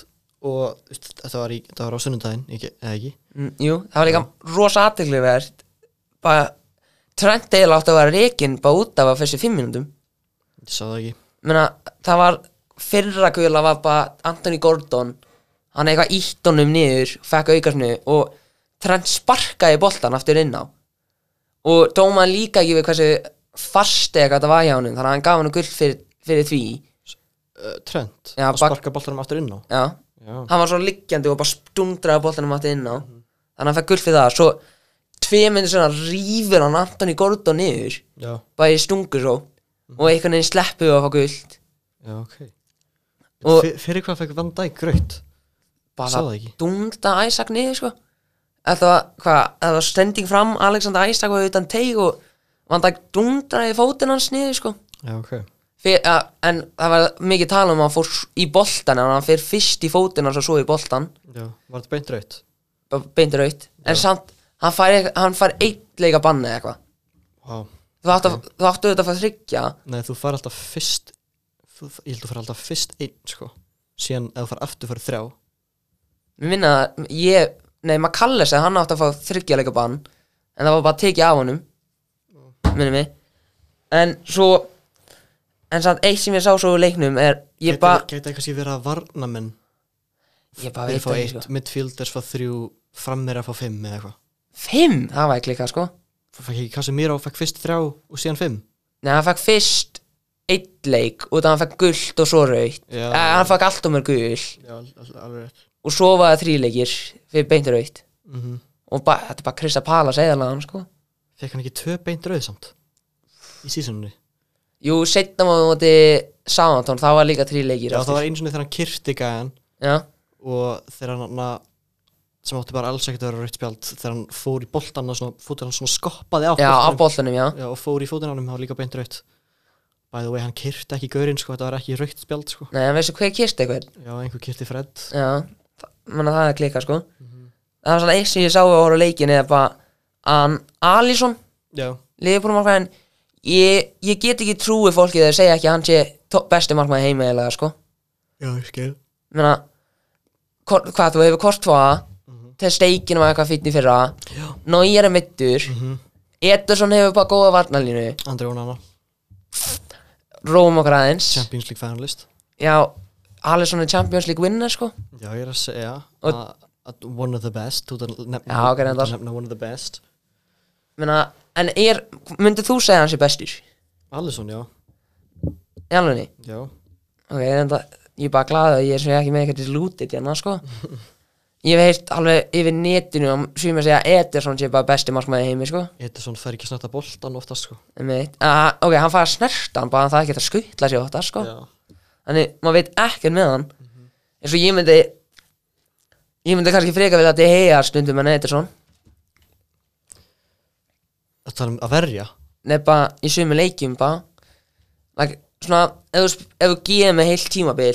Speaker 6: og þú veist, þetta var, í, þetta var á sunnundaginn, ekki, eða ekki
Speaker 5: mm, jú, það var líka rosa aðtegli verð bara Trent Dale átti að vera reikinn bara út af að fyrstu fimm mínúndum
Speaker 6: Ég sá það ekki
Speaker 5: Menna, það var fyrra gula var bara Anthony Gordon hann eitthvað ítt honum niður fekk aukasnu og Trent sparkaði boltan aftur inn á og dómaði líka ekki við hversu fast eitthvað þetta var hjá honum þannig að hann gaf hann gull fyrir, fyrir því
Speaker 6: uh, Trent,
Speaker 5: Já,
Speaker 6: að
Speaker 5: bak-
Speaker 6: sparka boltanum aftur inn á
Speaker 5: já.
Speaker 6: Já.
Speaker 5: hann var svo liggjandi og bara stundraði boltanum aftur inn á þannig að hann fekk gull fyrir það svo tvei myndir svona rýfur hann Anthony Gordon niður
Speaker 6: Já,
Speaker 5: bara í stungur svo og einhvern veginn sleppu og fá gullt
Speaker 6: já, ok
Speaker 5: Og-
Speaker 6: F Fyrir hvað fekk Van Dijk gröitt? Sá það
Speaker 5: bara
Speaker 6: ekki.
Speaker 5: dungda Æsak niður sko Þetta var, hvað, það var stending fram Alexander Æsak var utan teig og Van Dijk dundraði fótinn hans niður sko
Speaker 6: Já, ok
Speaker 5: Fyr, ja, en það var mikið tala um að hann fór s- í boltan en hann fyrir fyrst í fótinn hans og svo í boltan
Speaker 6: Já, var þetta beint rautt?
Speaker 5: bara beint raut en samt, hann fær, eitth- hann fær eitt leika banni eða eitthvað þú,
Speaker 6: Vá
Speaker 5: átt að- þú áttu þetta að fara þryggja
Speaker 6: Nei, þú fær alltaf fyrst þú, Ég held þú fær alltaf fyrst einn, sko Síðan ef þú fær aftur fær þrjá
Speaker 5: Mér minna að ég, nei maður kallar sig að hann átti að fá þryggjarleika bann En það var bara tekið af honum Minni mig En svo en samt eitt sem ég sá svo í leiknum er ég bara
Speaker 6: Gæti það kannski verið að varna menn
Speaker 5: ég bara
Speaker 6: Þeir
Speaker 5: veit
Speaker 6: fá
Speaker 5: það ekki
Speaker 6: eitt,
Speaker 5: sko
Speaker 6: midfielders fá þrjú Frammir að fá fimm eða eitthvað
Speaker 5: fimm, það var ekki líka sko
Speaker 6: Fæk ekki kassi mér á, fæk fyrst þrjá og síðan fimm
Speaker 5: Nei, hann fekk fyrst eitt leik og það hann fekk gult og svo raukt
Speaker 6: Já.
Speaker 5: Eh, hann fekk allt og mér gul
Speaker 6: Já, alveg rétt
Speaker 5: og svo var það þríleikir fyrir beint raukt
Speaker 6: mm -hmm.
Speaker 5: og ba, þetta er bara Krista Pala segðalega hann sko
Speaker 6: Fekk hann ekki tvö beint rauð samt Í sísunni
Speaker 5: Jú, setna maður móti Sáantón, það var líka þríleikir
Speaker 6: Já, það var einu sinni þegar hann kyrti gæðan
Speaker 5: Já,
Speaker 6: og þegar hann na, sem átti bara alls ekkert að vera rautt spjald þegar hann fór í boltan og svona, fótur hann svona skoppaði á
Speaker 5: já á
Speaker 6: boltanum.
Speaker 5: boltanum, já
Speaker 6: Já, og fór í fótinn á hann var líka beint rautt By the way, hann kyrti ekki gaurinn sko, þetta var ekki rautt spjald sko
Speaker 5: Nei, en veistu hvað ég kyrst eitthvað
Speaker 6: Já, einhver kyrti Fred
Speaker 5: Já, manna það er klika sko Það var svona eitt sem ég sá að horfa á leikin eða bara um, Alisson,
Speaker 6: Já,
Speaker 5: liðbúrumarkvæðin ég, ég get ekki trúið fólki þegar segja ekki að hann sé topp- besti markmaði heima eða sko
Speaker 6: já, ég skil
Speaker 5: meina, kor- hvað þú hefur kortfóða til steikinu var eitthvað fýtni fyrra Nói er meittur mm Ederson hefur bara góða varnalínu
Speaker 6: Andri Ónana,
Speaker 5: Róm okkar aðeins
Speaker 6: Champions League finalist
Speaker 5: Já, Alisson er Champions League winner sko
Speaker 6: Já, ég er að segja
Speaker 5: Og-
Speaker 6: að að one of the best, þú ert að nefna,
Speaker 5: Já, ok,
Speaker 6: þú ert
Speaker 5: reyndar.
Speaker 6: að nefna one of the best
Speaker 5: meina, en er, myndir þú segja hans er bestur?
Speaker 6: Alisson, já,
Speaker 5: Í alvegni?
Speaker 6: já
Speaker 5: Ok, en það, ég er bara glaðið að ég sé ekki með eitthvað til lútið hérna, sko. Ég hef heilt alveg yfir netinu og sumir segja að Ederson sé bara besti markmaði í heimi, sko.
Speaker 6: Ederson fær ekki að snerta boltan oftast sko
Speaker 5: Einmitt. Ah, ok, hann fær að snerta hann bara, hann það ekki að skutla sér óttar, sko.
Speaker 6: Já,
Speaker 5: Þannig, maður veit ekkert með hann. Eins og ég myndi, ég myndi kannski freka við að þetta heiða stundum en Ederson.
Speaker 6: að tala um að verja
Speaker 5: Nei, bara í sumir leikjum, bara. Like, svona, ef þú, sp- ef þú gefið mig heilt tímabil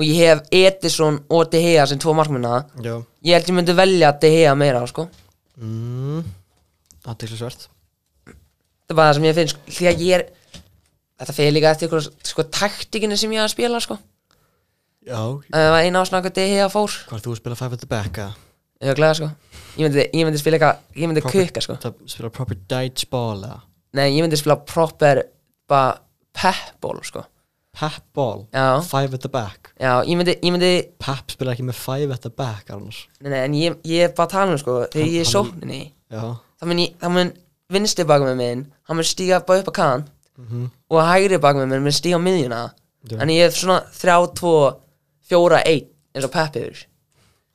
Speaker 5: og ég hef Ederson og De Gea sem tvo markminna,
Speaker 6: Já
Speaker 5: Ég held ég myndi velja að dehega meira, sko Það
Speaker 6: mm. Aðdeglisvert
Speaker 5: er bara það sem ég finn, sko Því að ég er Þetta fyrir líka eftir ykkur, sko, taktikinu sem ég er að spila, sko
Speaker 6: Já Hvað
Speaker 5: Það var eina ásna hvað dehega fór
Speaker 6: er þú að spila five at the back að
Speaker 5: Ég var glæða, sko Ég myndi, ég myndi spila eitthvað, ég myndi kukka, sko
Speaker 6: Það spila proper dage ball eða
Speaker 5: Nei, ég myndi spila proper, bara, pepból, sko
Speaker 6: Pep ball
Speaker 5: Já.
Speaker 6: Five at the back
Speaker 5: Já, ég myndi, ég myndi,
Speaker 6: Pep spila ekki með five at the back annars
Speaker 5: nei, nei, en ég, ég er bara að tala um, sko Þegar ég er í
Speaker 6: Hann-
Speaker 5: sókninni
Speaker 6: Já
Speaker 5: Það mun, ég- þá mun vinstri bak með minn Hann mun stíga bara upp að kant Og hægri bak með minn mun stíga á miðjuna
Speaker 6: Mhm. Já.
Speaker 5: En ég er svona 3, 2, 4, 1 eins og peppiður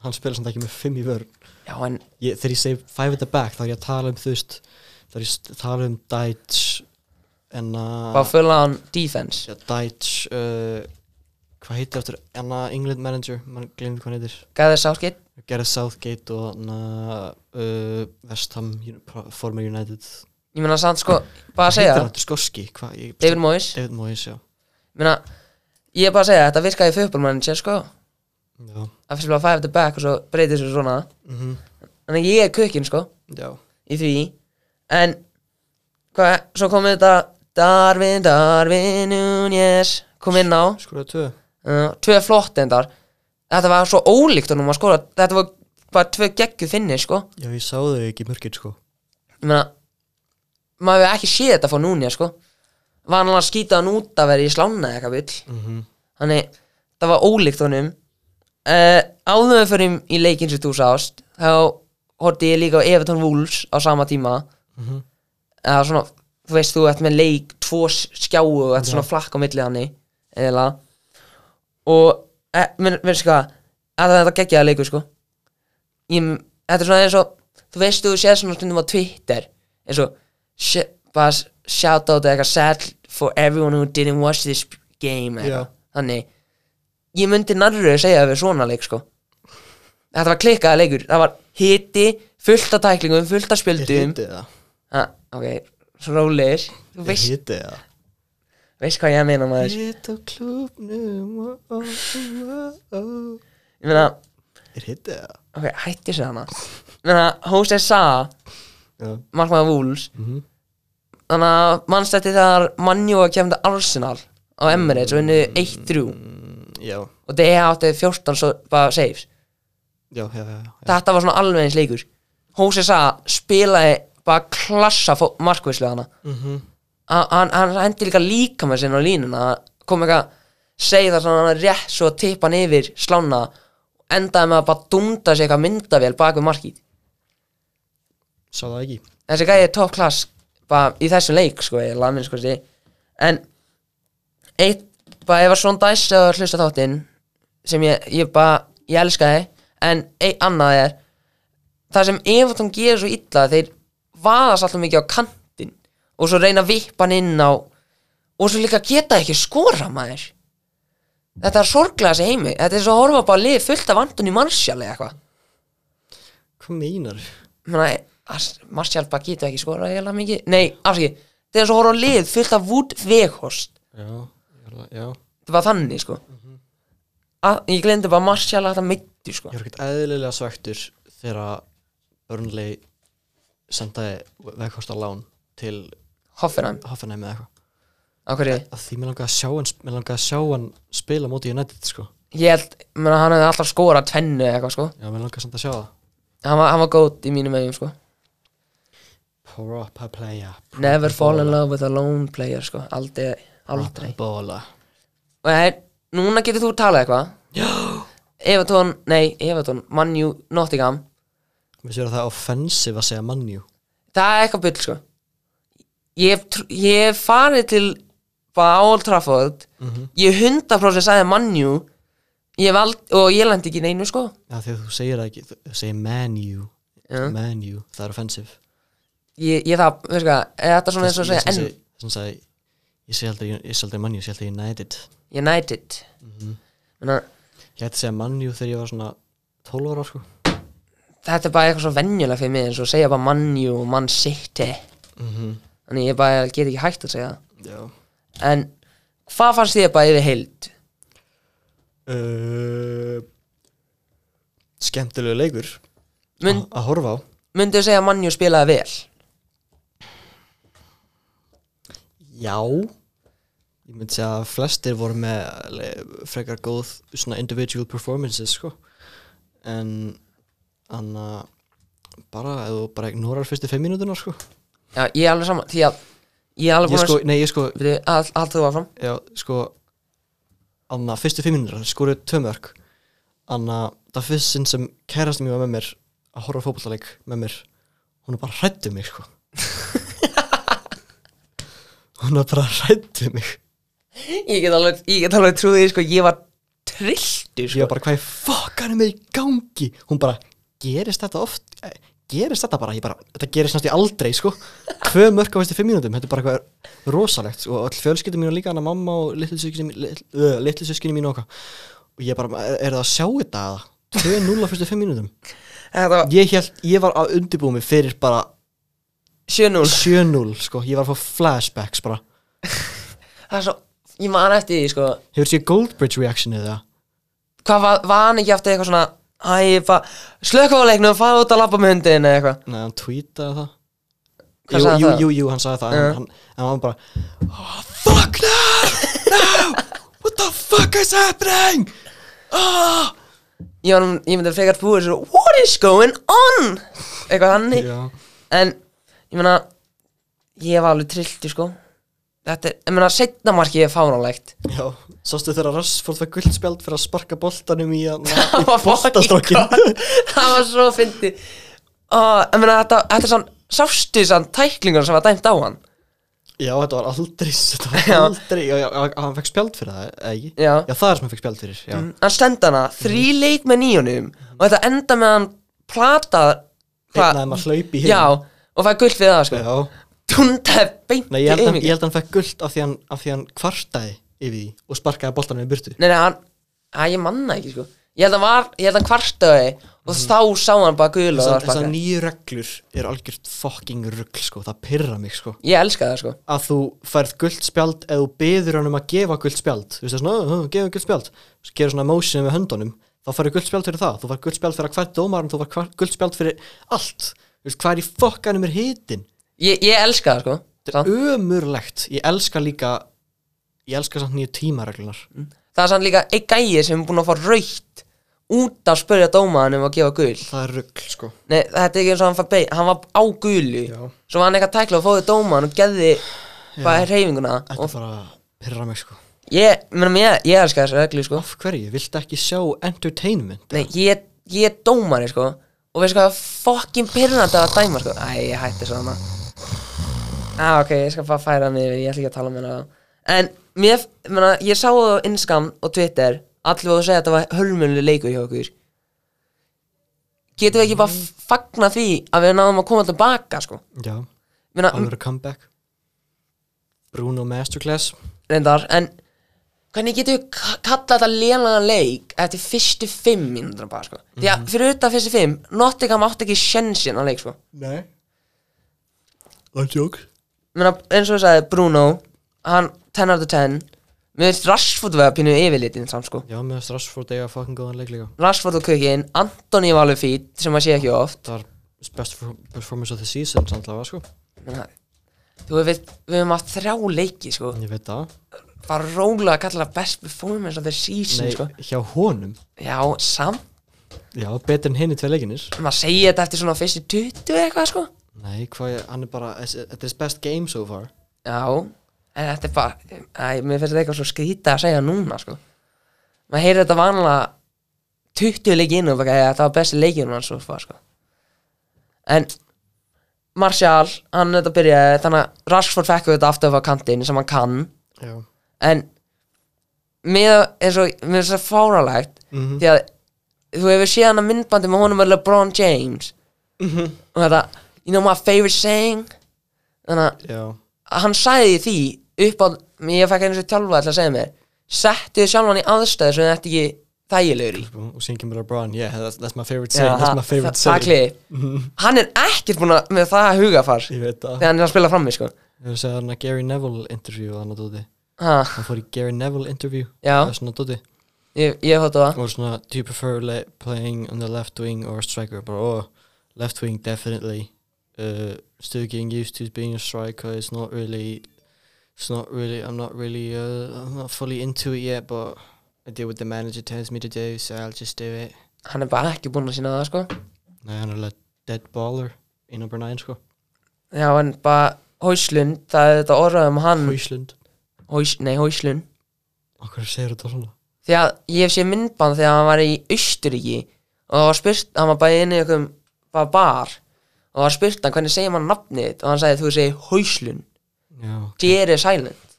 Speaker 6: Hann spila samt ekki með fimm í vörn
Speaker 5: Já, en
Speaker 6: ég, Þegar ég segi five at the back þá er ég að tala um þú veist Þá er ég að tala um dage En uh,
Speaker 5: bara
Speaker 6: að
Speaker 5: fulla án defense
Speaker 6: Já, dage uh, Hvað heitir aftur En að England manager Man glemir hvað hann heitir
Speaker 5: Gæði sárkitt
Speaker 6: Gareth Southgate og hann uh, West Ham Un- Pro- former United
Speaker 5: Ég meina samt sko, bara að
Speaker 6: Hvað heitir
Speaker 5: segja
Speaker 6: hann
Speaker 5: það
Speaker 6: aftur? skoski hvað- ég-
Speaker 5: David Moyes
Speaker 6: David Moyes já.
Speaker 5: Ég meina, ég er bara að segja þetta virkaði í fjöfbólmanager sko
Speaker 6: Já.
Speaker 5: Það fyrst bara 5 to back og svo breytir sér svona
Speaker 6: Mhm.
Speaker 5: Þannig að ég er kökinn sko
Speaker 6: já
Speaker 5: í því En hvað, svo kom þetta Darwin, Darwin, Núñez kom inn á
Speaker 6: skoraði tvö
Speaker 5: uh, Tvö flott endar Þetta var svo ólíkt honum að skora Þetta var bara tvö geggju finni sko
Speaker 6: já ég sá þau ekki mörgir sko
Speaker 5: ég meina maður hefur ekki séð þetta fór núna sko var hann að skýta hann út að vera í slána eða eitthvað vill þannig það var ólíkt honum uh, áður en við förum í leikinn sem þú sást þá horfði ég líka á Everton Wolves á sama tíma eða svona þú veist þú ert með leik tvo s- skjáu og þetta er svona flakk á milli hann eða og e, minn, veist hvað að þetta geggjaði leikur sko ég, þetta er svona eins og þú veist þú séð svona stundum á Twitter eins og sh bara s- shout out eða eitthvað sad for everyone who didn't watch this game eða
Speaker 6: Já.
Speaker 5: eitthvað. þannig ég myndi nærrið segja við svona leik sko þetta var klikkaða leikur það var hiti, fullt af tæklingum fullt af
Speaker 6: er
Speaker 5: spjöldum
Speaker 6: hitið það
Speaker 5: ha, ok, svo rólegir þú
Speaker 6: er
Speaker 5: veist,
Speaker 6: hitið það
Speaker 5: veist hvað ég meina maður
Speaker 6: hit á klubnum ó, ó, ó, ó.
Speaker 5: ég meina,
Speaker 6: er hitið það
Speaker 5: ok, hætti sér hana ég meina, Jose Sa
Speaker 6: já
Speaker 5: markmaður Wolves þannig að mannstætti þegar Manjú að kemta Arsenal á Emirates og vinnu 1-3
Speaker 6: já
Speaker 5: og DE átti 14 svo bara saves
Speaker 6: já já já, já.
Speaker 5: þetta var svona alveg eins leikur Hósi Sa spilaði bara klassa markvislu hana
Speaker 6: Mhm.
Speaker 5: hann, hann- hann hendi líka líka með sinna á línuna Hann kom eitthvað segja það svona rétt svo að tippa hann yfir slána endaði með að bara dunda sig eitthvað myndavél bak við markið
Speaker 6: sá það ekki
Speaker 5: þessi gæði er top class bara í þessum leik sko ég laði minn sko þessi en eitt bara ef að svona dæs eða hlusta þáttinn sem ég, ég bara ég elska þið en eitt annað er það sem Evertón gerir svo illa þeir vaðast alltaf mikið á kantinn og svo reyna að vippa hann inn á og svo líka geta ekki skora maður þetta er sorglega þessi heimi þetta er svo að horfa bara lið fullt af Antoni Marshall eða eitthvað
Speaker 6: hvað meinar
Speaker 5: Menna, as, Martial bara getur ekki skorað eiginlega mikið Nei, afsaki, þetta er svo horf á lið fullt af Wood Veghorst
Speaker 6: já, ég er það- já ég
Speaker 5: Þetta var þannig, sko að, Ég glemdi bara Martial að þetta meittu, sko
Speaker 6: var ekkert eðlilega svektur þegar að Burnley sendaði vekkvort á lán til
Speaker 5: Hoffenheim,
Speaker 6: Hoffenheim eða eitthvað
Speaker 5: á hverju
Speaker 6: að því mér langaði að sjá hann, mér langaði að sjá hann spila móti United sko
Speaker 5: Ég held, menna, hann hefði alltaf skorað tvennu eða eitthvað, sko
Speaker 6: já, mér langaði samt að sjá það
Speaker 5: Hann var, hann var góð í mínum eigum, sko
Speaker 6: proper player
Speaker 5: Never fall in love with a lone player, sko Aldrei, aldrei
Speaker 6: bola
Speaker 5: Nei, núna getur þú talað eitthvað Já Evertón, nei, Evertón, Manju, Nottingham
Speaker 6: við séum að það er offensive að segja mannjú
Speaker 5: það er eitthvað bull sko ég, hef tr- ég hef farið til bara á Old Trafford ég 100% sagði mannjú ég vald, og ég lendi ekki í neinu sko
Speaker 6: já, því að þú segir það ekki þú þú segir mannjú
Speaker 5: Já.
Speaker 6: mannjú það er offensive
Speaker 5: ég, ég það, veist hvað, er þetta svona eins og að segja en
Speaker 6: sem sagði ég segi aldrei, ég segi aldrei mannjú, ég segi aldrei United
Speaker 5: United Þannig að
Speaker 6: ég hætti að segja mannjú þegar ég var svona 12 ára sko
Speaker 5: þetta er bara eitthvað svo venjulega fyrir mig eins og að segja bara mannjú og mann sitti þannig ég bara get ekki hægt að segja það
Speaker 6: já
Speaker 5: en hvað fannst þið bara yfir heild
Speaker 6: uh, skemmtilegu leikur
Speaker 5: Mynd,
Speaker 6: að horfa á
Speaker 5: myndu segja að mannjú spilaði vel
Speaker 6: Já Ég myndi segja að flestir voru með le- frekar góð svona individual performances sko en anna bara, ef þú bara ignorar fyrstu fimm mínútuna sko
Speaker 5: já, ég er alveg saman því að ég er alveg
Speaker 6: Ég
Speaker 5: búin að
Speaker 6: sko, nei ég sko,
Speaker 5: Byrju, all- Allt þú áfram
Speaker 6: já sko anna fyrstu fimm mínútuna skoruð tvö mörg anna það fyrst sinn sem kærast mjög með mér að horfa á fótballaleik með mér hún er bara hrættu mig sko hún er bara hrættu mig
Speaker 5: Ég get alveg, ég get alveg trúið því sko Ég var trilltu
Speaker 6: ég
Speaker 5: sko
Speaker 6: var bara hvað í fokkanum er í gangi hún bara, gerist þetta oft eh, gerist þetta bara, ég bara, þetta gerist næstu aldrei sko, tvö mörg á fyrstu fimm mínútum þetta er bara eitthvað rosalegt sko. og öll fjölskyldum mínu líka, hann að mamma og litlu systkini litlu, ö, litlu systkini mínu okkar og ég bara, er, er það að sjá þetta eða? tvö núl á fyrstu fimm mínútum
Speaker 5: Þetta var
Speaker 6: ég held, ég var að undirbúið mig fyrir bara
Speaker 5: 7-0
Speaker 6: 7-0 sko, ég var að fá flashbacks bara,
Speaker 5: Það er svo Ég man eftir því sko
Speaker 6: hefur séð Goldbridge reactionið það?
Speaker 5: Hvað var, var hann ekki eftir eitthvað svona Æ, bara Slökka á leiknum Fara út að labba með hundin eða eitthvað
Speaker 6: Nei, hann tweetaði það
Speaker 5: Hvað
Speaker 6: jú,
Speaker 5: sagði
Speaker 6: jú,
Speaker 5: það?
Speaker 6: Jú, jú, hann sagði það
Speaker 5: Já.
Speaker 6: En hann, en hann bara oh, Fuck no, no What the fuck is happening oh.
Speaker 5: Ég var nú- Ég myndi frekar búið svo What is going on Eitthvað þannig
Speaker 6: Já,
Speaker 5: En Ég meina Ég var alveg trilltu sko Þetta er Ég meina setna markið er fáránlegt
Speaker 6: já Sástu þegar Rashford fæk guldspjald fyrir að sparka boltanum í hann
Speaker 5: Það var fucking
Speaker 6: boltastrákin.
Speaker 5: gott. Það var svo fyndi uh, Ég meina þetta, þetta er sann Sástu sann tæklingur sem var dæmt á hann
Speaker 6: Já, þetta var aldrei Þetta var
Speaker 5: Já.
Speaker 6: aldrei Já, já, hann fæk spjald fyrir það, eða ekki?
Speaker 5: Já.
Speaker 6: Já, Mm, það er sem hann fæk spjald fyrir Já,
Speaker 5: Hann stend hana, þrý
Speaker 6: Mhm.
Speaker 5: leik með nýjunum Og þetta enda með hann platað
Speaker 6: Einn af þeim að hlaupa í hinn.
Speaker 5: Já, og fæði gull við það sko
Speaker 6: já.
Speaker 5: Tundaði beint
Speaker 6: Nei, ég held, að,
Speaker 5: aumingi.
Speaker 6: ég held að hann fæk guld af því hann, af því hann kvartaði yfir því og sparkaði boltanum í burtu
Speaker 5: Nei, nei, hann að, Ég manna ekki sko Ég held að hann var, ég held að hann kvartaði
Speaker 6: Mhm.
Speaker 5: Og þá sá hann bara gul og það var
Speaker 6: Þessar
Speaker 5: sparkað.
Speaker 6: nýju reglur er algjört fucking rugl sko, það pyrra mig sko
Speaker 5: Ég elska það sko
Speaker 6: að þú færð gult spjald eða þú byður hann um að gefa gult spjald þú veist það er svona, "Uh, uh, gefa gult spjald þú gerir svona motion með höndunum þá færðu gult spjald fyrir það, þú færð gult spjald fyrir að hvert dómarum þú færð gult spjald fyrir allt þú veist, hvað er í fokkanum er hitin
Speaker 5: Ég, ég elska það sko Samt.
Speaker 6: ömurlegt, ég elska líka ég elska samt nýju tímareglunar
Speaker 5: Það er sann líka einn gæi sem er búin að fá raukt Út að spurja dómaðan um að gefa gul
Speaker 6: það er rugl sko
Speaker 5: Nei, þetta er ekki eins og hann fær beig Hann var á gulu
Speaker 6: Já.
Speaker 5: Svo var hann eitthvað tækla og fóði dómaðan og geði hvað er reyfinguna
Speaker 6: Þetta
Speaker 5: og
Speaker 6: er bara að pyrra mig sko
Speaker 5: ég, menum, ég, ég elska þessa reglu sko.
Speaker 6: Af hverju, viltu ekki sjá entertainment?
Speaker 5: Nei, ég, ég er dómari sko Og veistu hvað, fokkin pyrrnandi að dæma sko Æ, ég hætti svo hana Á, ok, ég skal bara færa mig yfir Ég ætla ekki að tala með hana En mér, menna, ég sá það á Instagram og Twitter Allir voru að segja að þetta var hölmönlu leikur hjá okkur Getum við ekki bara fagna því Að við náðum að koma tilbaka sko
Speaker 6: Já,
Speaker 5: Menna,
Speaker 6: alveg að comeback Bruno Masterclass
Speaker 5: reyndar En hvernig getum við ka- kallað þetta lélagan leik Eftir fyrstu fimm mínútur bara sko Því að fyrir utan fyrstu fimm Nottingham átti ekki sjensin að leik sko
Speaker 6: Nei Það er jók
Speaker 5: Menna, eins og ég sagði, Bruno hann 10 out of 10 mér finnst Rashford vera pínu yfirlitinn samt sko
Speaker 6: Já, með Strasford eiga fucking góðan leik líka
Speaker 5: Rashford og Kukin, Antoni var alveg fít sem maður sé ekki oft
Speaker 6: Það var best performance of the season samtlaga sko
Speaker 5: Menna, þú veist, við höfum haft þrjá leiki sko
Speaker 6: Ég veit það
Speaker 5: bara rólega að kalla það best performance of the season
Speaker 6: Nei,
Speaker 5: sko
Speaker 6: hjá honum
Speaker 5: já, samt,
Speaker 6: Já, betur en hinn í tvei leikinir
Speaker 5: maður segi þetta eftir svona fyrstu 20 eitthvað sko
Speaker 6: Nei, hvað, ég- hann er bara Þetta er his best game so far
Speaker 5: já, en þetta er bara æ, mér finnst þetta eitthvað svo skrýta að segja núna sko maður heyrir þetta vanlega 20 leiki inn og bara að það var besti leikinu hans og hvað sko en Martial, hann þetta byrjaði þannig að Rashford fekk þetta aftur af kantinn sem hann kann
Speaker 6: Já
Speaker 5: en með eins og með þess að fáralegt því að þú hefur séð hann að myndbandi með honum með LeBron James og þetta you know my favorite saying þannig að
Speaker 6: Já
Speaker 5: hann sagði því upp á, ég fekk einu svo tjálfa til að segja mér, settu þið sjálfan í aðstæði sem þetta ekki þægilegur í
Speaker 6: og síðan kemur LeBron yeah, that's, that's my favorite saying,
Speaker 5: Já,
Speaker 6: that's
Speaker 5: það-
Speaker 6: my favorite
Speaker 5: það- það
Speaker 6: saying
Speaker 5: kliði. hann er ekkert búin að með það hugafar
Speaker 6: ég
Speaker 5: þegar
Speaker 6: veit það
Speaker 5: hann er að spila frammi sko
Speaker 6: ég hef segið hann að Gary Neville interview hann að dóti
Speaker 5: ha,
Speaker 6: hann fór í Gary Neville interview
Speaker 5: Já.
Speaker 6: það er svona dóti
Speaker 5: ég, ég hóttu það
Speaker 6: og svona do you prefer le- playing on the left wing or striker bara oh left wing definitely uh, still getting used to being a striker it's not really it's not really I'm not really uh, I'm not fully into it yet but I do what the manager tells me to do so I'll just do it
Speaker 5: hann er bara ekki búin að sína það sko
Speaker 6: nei hann er alveg dead baller í number 9 sko
Speaker 5: já en bara Hóislund, það er þetta orðað um hann
Speaker 6: Ísland
Speaker 5: Hós, nei Hóislund
Speaker 6: okkur segir þetta svona
Speaker 5: því að ég hef séð myndband þegar hann var í Austuríki og það var spurt, hann var bara inn í einhverjum bara bar og það var spurt hann hvernig segir maður nafnið þitt?" og hann sagði þú segir Hóislund
Speaker 6: já
Speaker 5: Jerry Silent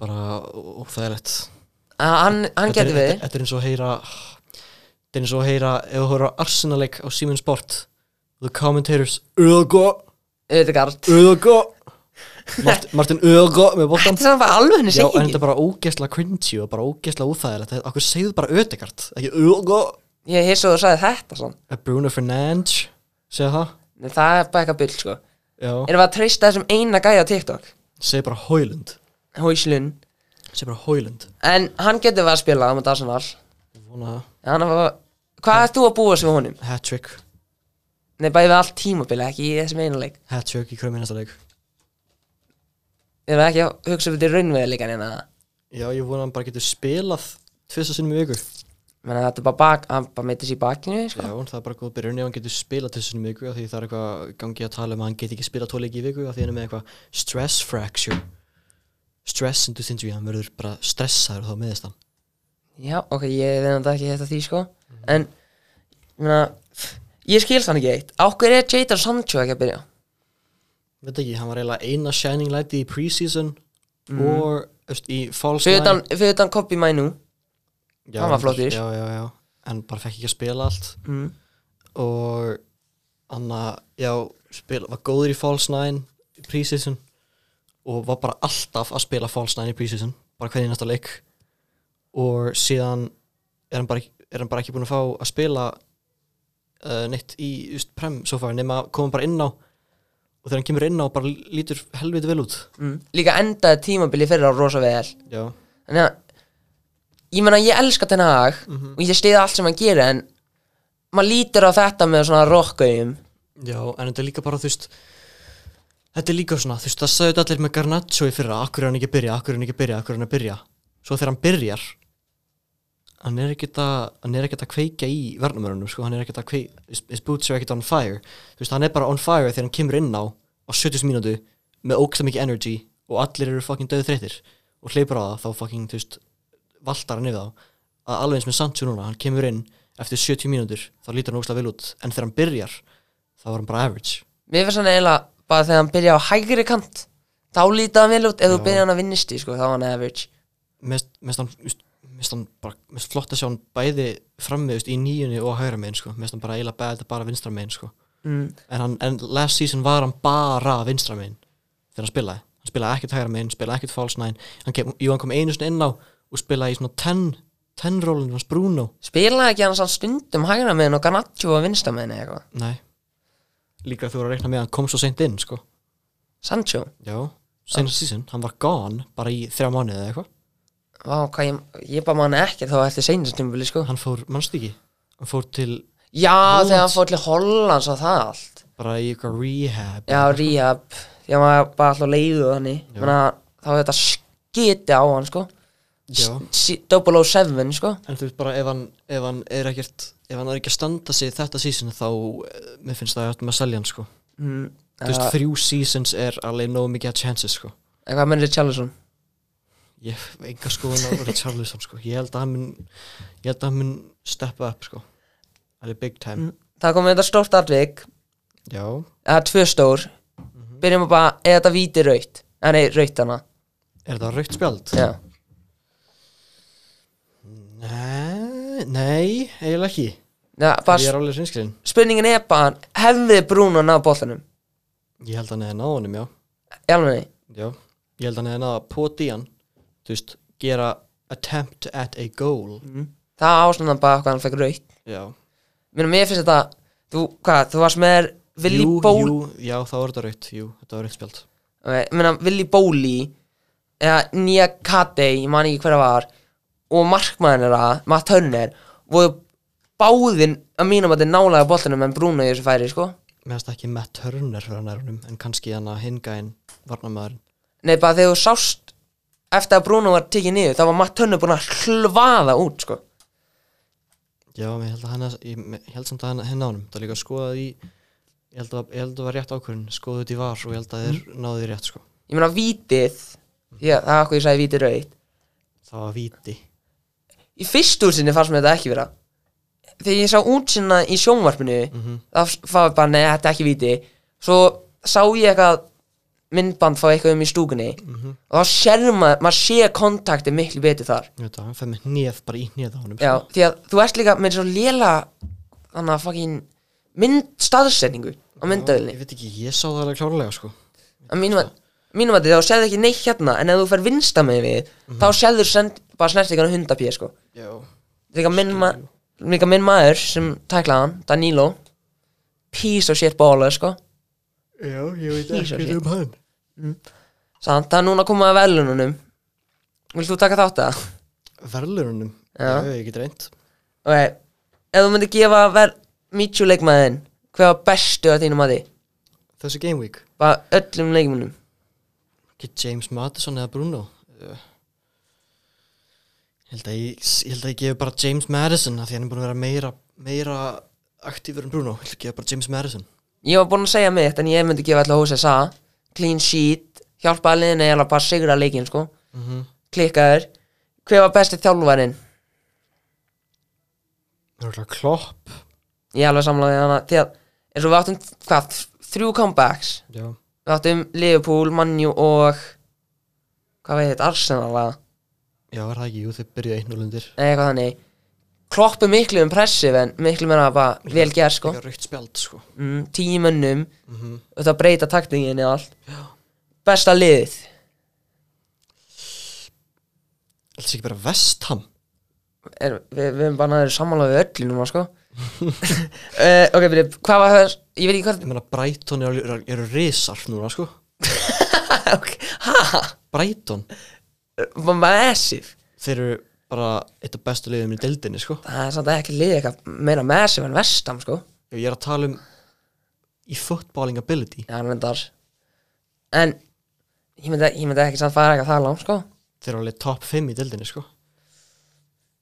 Speaker 6: bara oh, óþægilegt
Speaker 5: að hann, hann
Speaker 6: Þetta er-
Speaker 5: getur við
Speaker 6: Þetta þetta er eins og að heyra Þetta er eins og að heyra ef þú horfir á Arsenal-leik á Siemens Sport The commentators Öðgó,
Speaker 5: Ödegard
Speaker 6: Öðgó Martin Öðgó með boltan
Speaker 5: Þetta er samt bara alveg henni
Speaker 6: Já, en þetta
Speaker 5: segingin
Speaker 6: er bara ógesla cringy og bara ógesla óþægilegt Þetta- Akkur segðu bara Ödegard ekki Öðgó
Speaker 5: Ég hissa og þú sagði þetta svona
Speaker 6: Bruno Fernandes segja það
Speaker 5: En það er bara eitthvað bull sko
Speaker 6: Já
Speaker 5: Erum við að treysta þessum eina gæja á TikTok
Speaker 6: segðu bara Hoylund
Speaker 5: Hóislun
Speaker 6: segðu bara Hoylund
Speaker 5: En hann getur við að spila á mjög Arsenal
Speaker 6: Vona
Speaker 5: Hann var Hvað ert þú að búa sig við honum?
Speaker 6: hat-trick
Speaker 5: Nei, bara við allt tímabili, ekki í þessum eina leik
Speaker 6: hat-trick í hverjum minnasta leik
Speaker 5: Erum við ekki að hugsa um þetta í raunveði líka neina
Speaker 6: Já, ég vona hann bara getur spilað tvisar sinnum í viku
Speaker 5: Menna þetta er bara bak Hann bara meiti sér í bakinu sko.
Speaker 6: Já, það er bara góð byrjun ef hann getur spilað til þessum viku af því það er eitthvað gangi að tala um að hann geti ekki spilað tóleiki í viku af því hann er með eitthvað stress fracture stress induced injury, hann verður bara stressaður og þá meðist hann
Speaker 5: Já, ok, ég veit að ekki þetta því sko En Ég meina Ég skil þannig ekki eitt Á hverju er Jadon Sancho ekki að byrja?
Speaker 6: Veit ekki, hann var eiginlega eina shining light í preseason og eftir, í false
Speaker 5: Mm. Fyrir utan- Fyrir utan Kobi Mainu
Speaker 6: já,
Speaker 5: hann var flottur.
Speaker 6: Já, já, já, en bara fekk ekki að spila allt
Speaker 5: mm.
Speaker 6: og hann að, já, spila, var góður í false nine í preseason og var bara alltaf að spila false nine í preseason, bara hvernig næsta leik og síðan er hann bara, ekki- er hann bara ekki búin að fá að spila uh, neitt í just, prem svo far, nema að koma bara inn á og þegar hann kemur inn á bara lítur helviti vel út
Speaker 5: Mm. Líka endaði tímabili fyrir á rosa vel
Speaker 6: já,
Speaker 5: Þannig að Ég meina ég elska þennan hag Og ég stiði allt sem hann gerir en Maður lítur á þetta með svona rokkauðum
Speaker 6: já, en þetta er líka bara þú veist þetta er líka svona, þú veist, það sagði þetta allir með Garnaccio í fyrra, akkur er hann ekki að byrja, akkur er hann ekki að byrja, akkur er hann að byrja svo þegar hann byrjar hann er ekkert að, hann er ekkert að kveika í verðnumörunum, sko, hann er ekkert að kveika his, his boots are ekkert on fire, þú veist, hann er bara on fire þegar hann kemur inn á á 70 mínútu með ógsta mikið energy og allir eru fucking döðu þreyttir og hleypur á það þá fucking, þú veist, valtar hann yfir þá að alveg eins með Sancho núna, hann kemur inn eftir 70 mínútur, þá lítur hann óslega vel út en þegar hann byrjar, þá var hann bara average
Speaker 5: Mér finnst hann eiginlega bara þegar hann byrja á hægri kant þá lítið hann vel út ef þú byrja hann að vinnisti sko, þá var hann average
Speaker 6: mest, mest hann, just, mest hann bara, mest flott að sjá hann bæði frammi just, í nýjunni og hægra megin sko. mest hann bara eiginlega bæði þetta bara vinstra megin sko.
Speaker 5: mm.
Speaker 6: en, hann, en last season var hann bara vinstra megin þegar hann spilaði hann spilaði ekkert hægra megin, spilaði ekkert false nine hann kem, jú, hann kom einu sinni inn á og spilaði í svona 10 10 rólinn hans Bruno
Speaker 5: Spilaði ekki hann sann stundum hægra meðin og Garnaccio að vinsta meðin eða eitthvað
Speaker 6: Nei. líka þú voru að reikna með að hann kom svo seint inn sko.
Speaker 5: Sancho,
Speaker 6: já, senast season, hann var gone bara í þrjá mánuði eða eitthvað
Speaker 5: vá hvað ég, ég bara manna ekki þá ætti seinast tímabili sko
Speaker 6: hann fór, mannstu ekki, hann fór til
Speaker 5: Já,
Speaker 6: Hollands.
Speaker 5: þegar hann fór til Hollands og það allt
Speaker 6: bara í eitthvað rehab
Speaker 5: Já, rehab Því að maður bara alltaf leiðu þannig Menna, Þá hefur þetta skiti á hann sko S-
Speaker 6: Já.
Speaker 5: s- 007 sko
Speaker 6: En þú veist bara ef hann, ef hann er ekkert Ef hann er ekki að standa sig þetta season Þá, eh, mér finnst það að þetta með að selja hann sko
Speaker 5: mm,
Speaker 6: Þú veist, þrjú seasons er alveg nóg mikið að chances sko
Speaker 5: En hvað mennir Charlesson?
Speaker 6: Ég hef enga skoðun á Richarlison sko Ég held að hann mun Ég held að hann mun steppa upp sko Alveg big time
Speaker 5: Það kom þetta stórt atvik
Speaker 6: Já,
Speaker 5: eða tvö stór
Speaker 6: Mhm.
Speaker 5: byrjum að bara, eða þetta víti raut eða nei, raut hana
Speaker 6: er það raukt spjald?
Speaker 5: já.
Speaker 6: Nei, nei, eiginlega ekki
Speaker 5: Já, bara,
Speaker 6: Ég er alveg sinnskrin
Speaker 5: spurningin er bara hefði Bruno náð boltanum
Speaker 6: Ég held að hann hefði náð honum, já
Speaker 5: Jálfnir,
Speaker 6: Já, ég held að hann hefði náð að poti hann Þú veist, gera attempt at a goal
Speaker 5: Mhm. það ástæðan bara hvað hann fekk raut
Speaker 6: Já
Speaker 5: Mér, mér finnst þetta, þú, hvað, þú varst með Willi
Speaker 6: jú,
Speaker 5: Ból
Speaker 6: jú, já, þá er þetta raukt, jú, þetta var raukt spjald
Speaker 5: Ok, ég meina Willi Bóli eða Nýja Katei, ég man ekki hver það var og markmaðurinn þeirra, Matt Turner voru báðin að mínum að þetta nálaga boltanum en Bruno í þessu færi, sko
Speaker 6: Mér finnst ekki Matt Turner frá nærunum en kannski hann að hingæin varnamæðurinn
Speaker 5: Nei, bara þegar þú sást eftir að Bruno var tekið niður, þá var Matt Turner búinn að hlvaða út, sko.
Speaker 6: Já, ég held að hann, ég ég held samt að hann henn á honum, það er líka skoðað í ég held að, ég held að það var rétt ákvörðin skoðað út í var og ég held að þeir
Speaker 5: Mhm.
Speaker 6: náðu því rétt sko
Speaker 5: Ég meina, vítið, já, það er okkur ég sagði vítið rauð.
Speaker 6: það var víti
Speaker 5: Í fyrstu útsinni fannst mér þetta ekki vera. Þegar ég sá útsinna í sjónvarpinu, það var bara, nei, þetta er ekki víti. Svo sá ég eitthvað myndband fá eitthvað um í stúkunni og þá sér maður, maður sé kontaktið miklu betur þar.
Speaker 6: Ég veit að hann fæði með hnið bara í hnið á honum sko.
Speaker 5: Já, því að þú ert líka með svo léla, þannig að fucking mynd staðsetningu á myndavélni.
Speaker 6: Ég veit ekki, ég sá það alveg klárlega sko
Speaker 5: að mínum að mínum að þá séð ekki neitt hérna en ef þú fer vinsta með við þá séður send, bara snert ekki hann hundapíð sko.
Speaker 6: Já
Speaker 5: líka minn, ma líka minn maður sem tæklaði hann, Danilo piece of shit baller sko.
Speaker 6: Já, ég veit
Speaker 5: Písa
Speaker 6: ekki
Speaker 5: sér.
Speaker 6: um hann
Speaker 5: Samt, það er núna að koma að velununum vilt þú taka þátt að
Speaker 6: Verðlurunum,
Speaker 5: Já.
Speaker 6: um. já, ég get reynd
Speaker 5: ok, ef þú myndir gefa ver Michu leikmaðin, hver var bestu að þínum að því,
Speaker 6: Þessi game week
Speaker 5: bara öllum leikmunum
Speaker 6: ekki James Madison eða Bruno Uh, ég held að ég, ég held að ég gefi bara James Madison af því hann er búin að vera meira meira aktífur en Bruno ég held að gefa bara James Madison
Speaker 5: ég var búinn að segja mitt en ég myndi gefa alltaf hús SA clean sheet, hjálpa að liðinu eða bara sigra leikinn sko klikkaður, hver var besti þjálfarinn
Speaker 6: það er alltaf klopp
Speaker 5: ég er alveg samlaði hana því að eins og við áttum hvað, þrjú comebacks
Speaker 6: já
Speaker 5: við áttum Liverpool, Manju og hvað veit þetta, Arsenal eða
Speaker 6: já er það ekki jú þau byrjuðu einn og lundir
Speaker 5: Nei, eitthvað þannig kloppu miklu impressive en miklu meira bara vel gerð sko
Speaker 6: ekki raukt spjald sko
Speaker 5: mm, tímönnum mm -hmm. og það breyta taktingin og allt besta liðið
Speaker 6: held sér ekki bara Vestham
Speaker 5: er, við, við erum bara náður samanlega við öllu núna sko uh, ok, byrju, hvað var það ég veit ekki hvað
Speaker 6: ég meina Brighton eru, eru, eru risar núna sko
Speaker 5: okay. ha,
Speaker 6: Brighton
Speaker 5: var massive
Speaker 6: þeir eru bara eitt af bestu liðum í deildinni sko
Speaker 5: það er samt ekki liðið eitthvað meira massive en vestam sko
Speaker 6: og ég er að tala um í footballing ability
Speaker 5: já, reyndar en ég myndi, ég myndi ekki samt fara eitthvað það langt sko
Speaker 6: þeir eru alveg top 5 í deildinni sko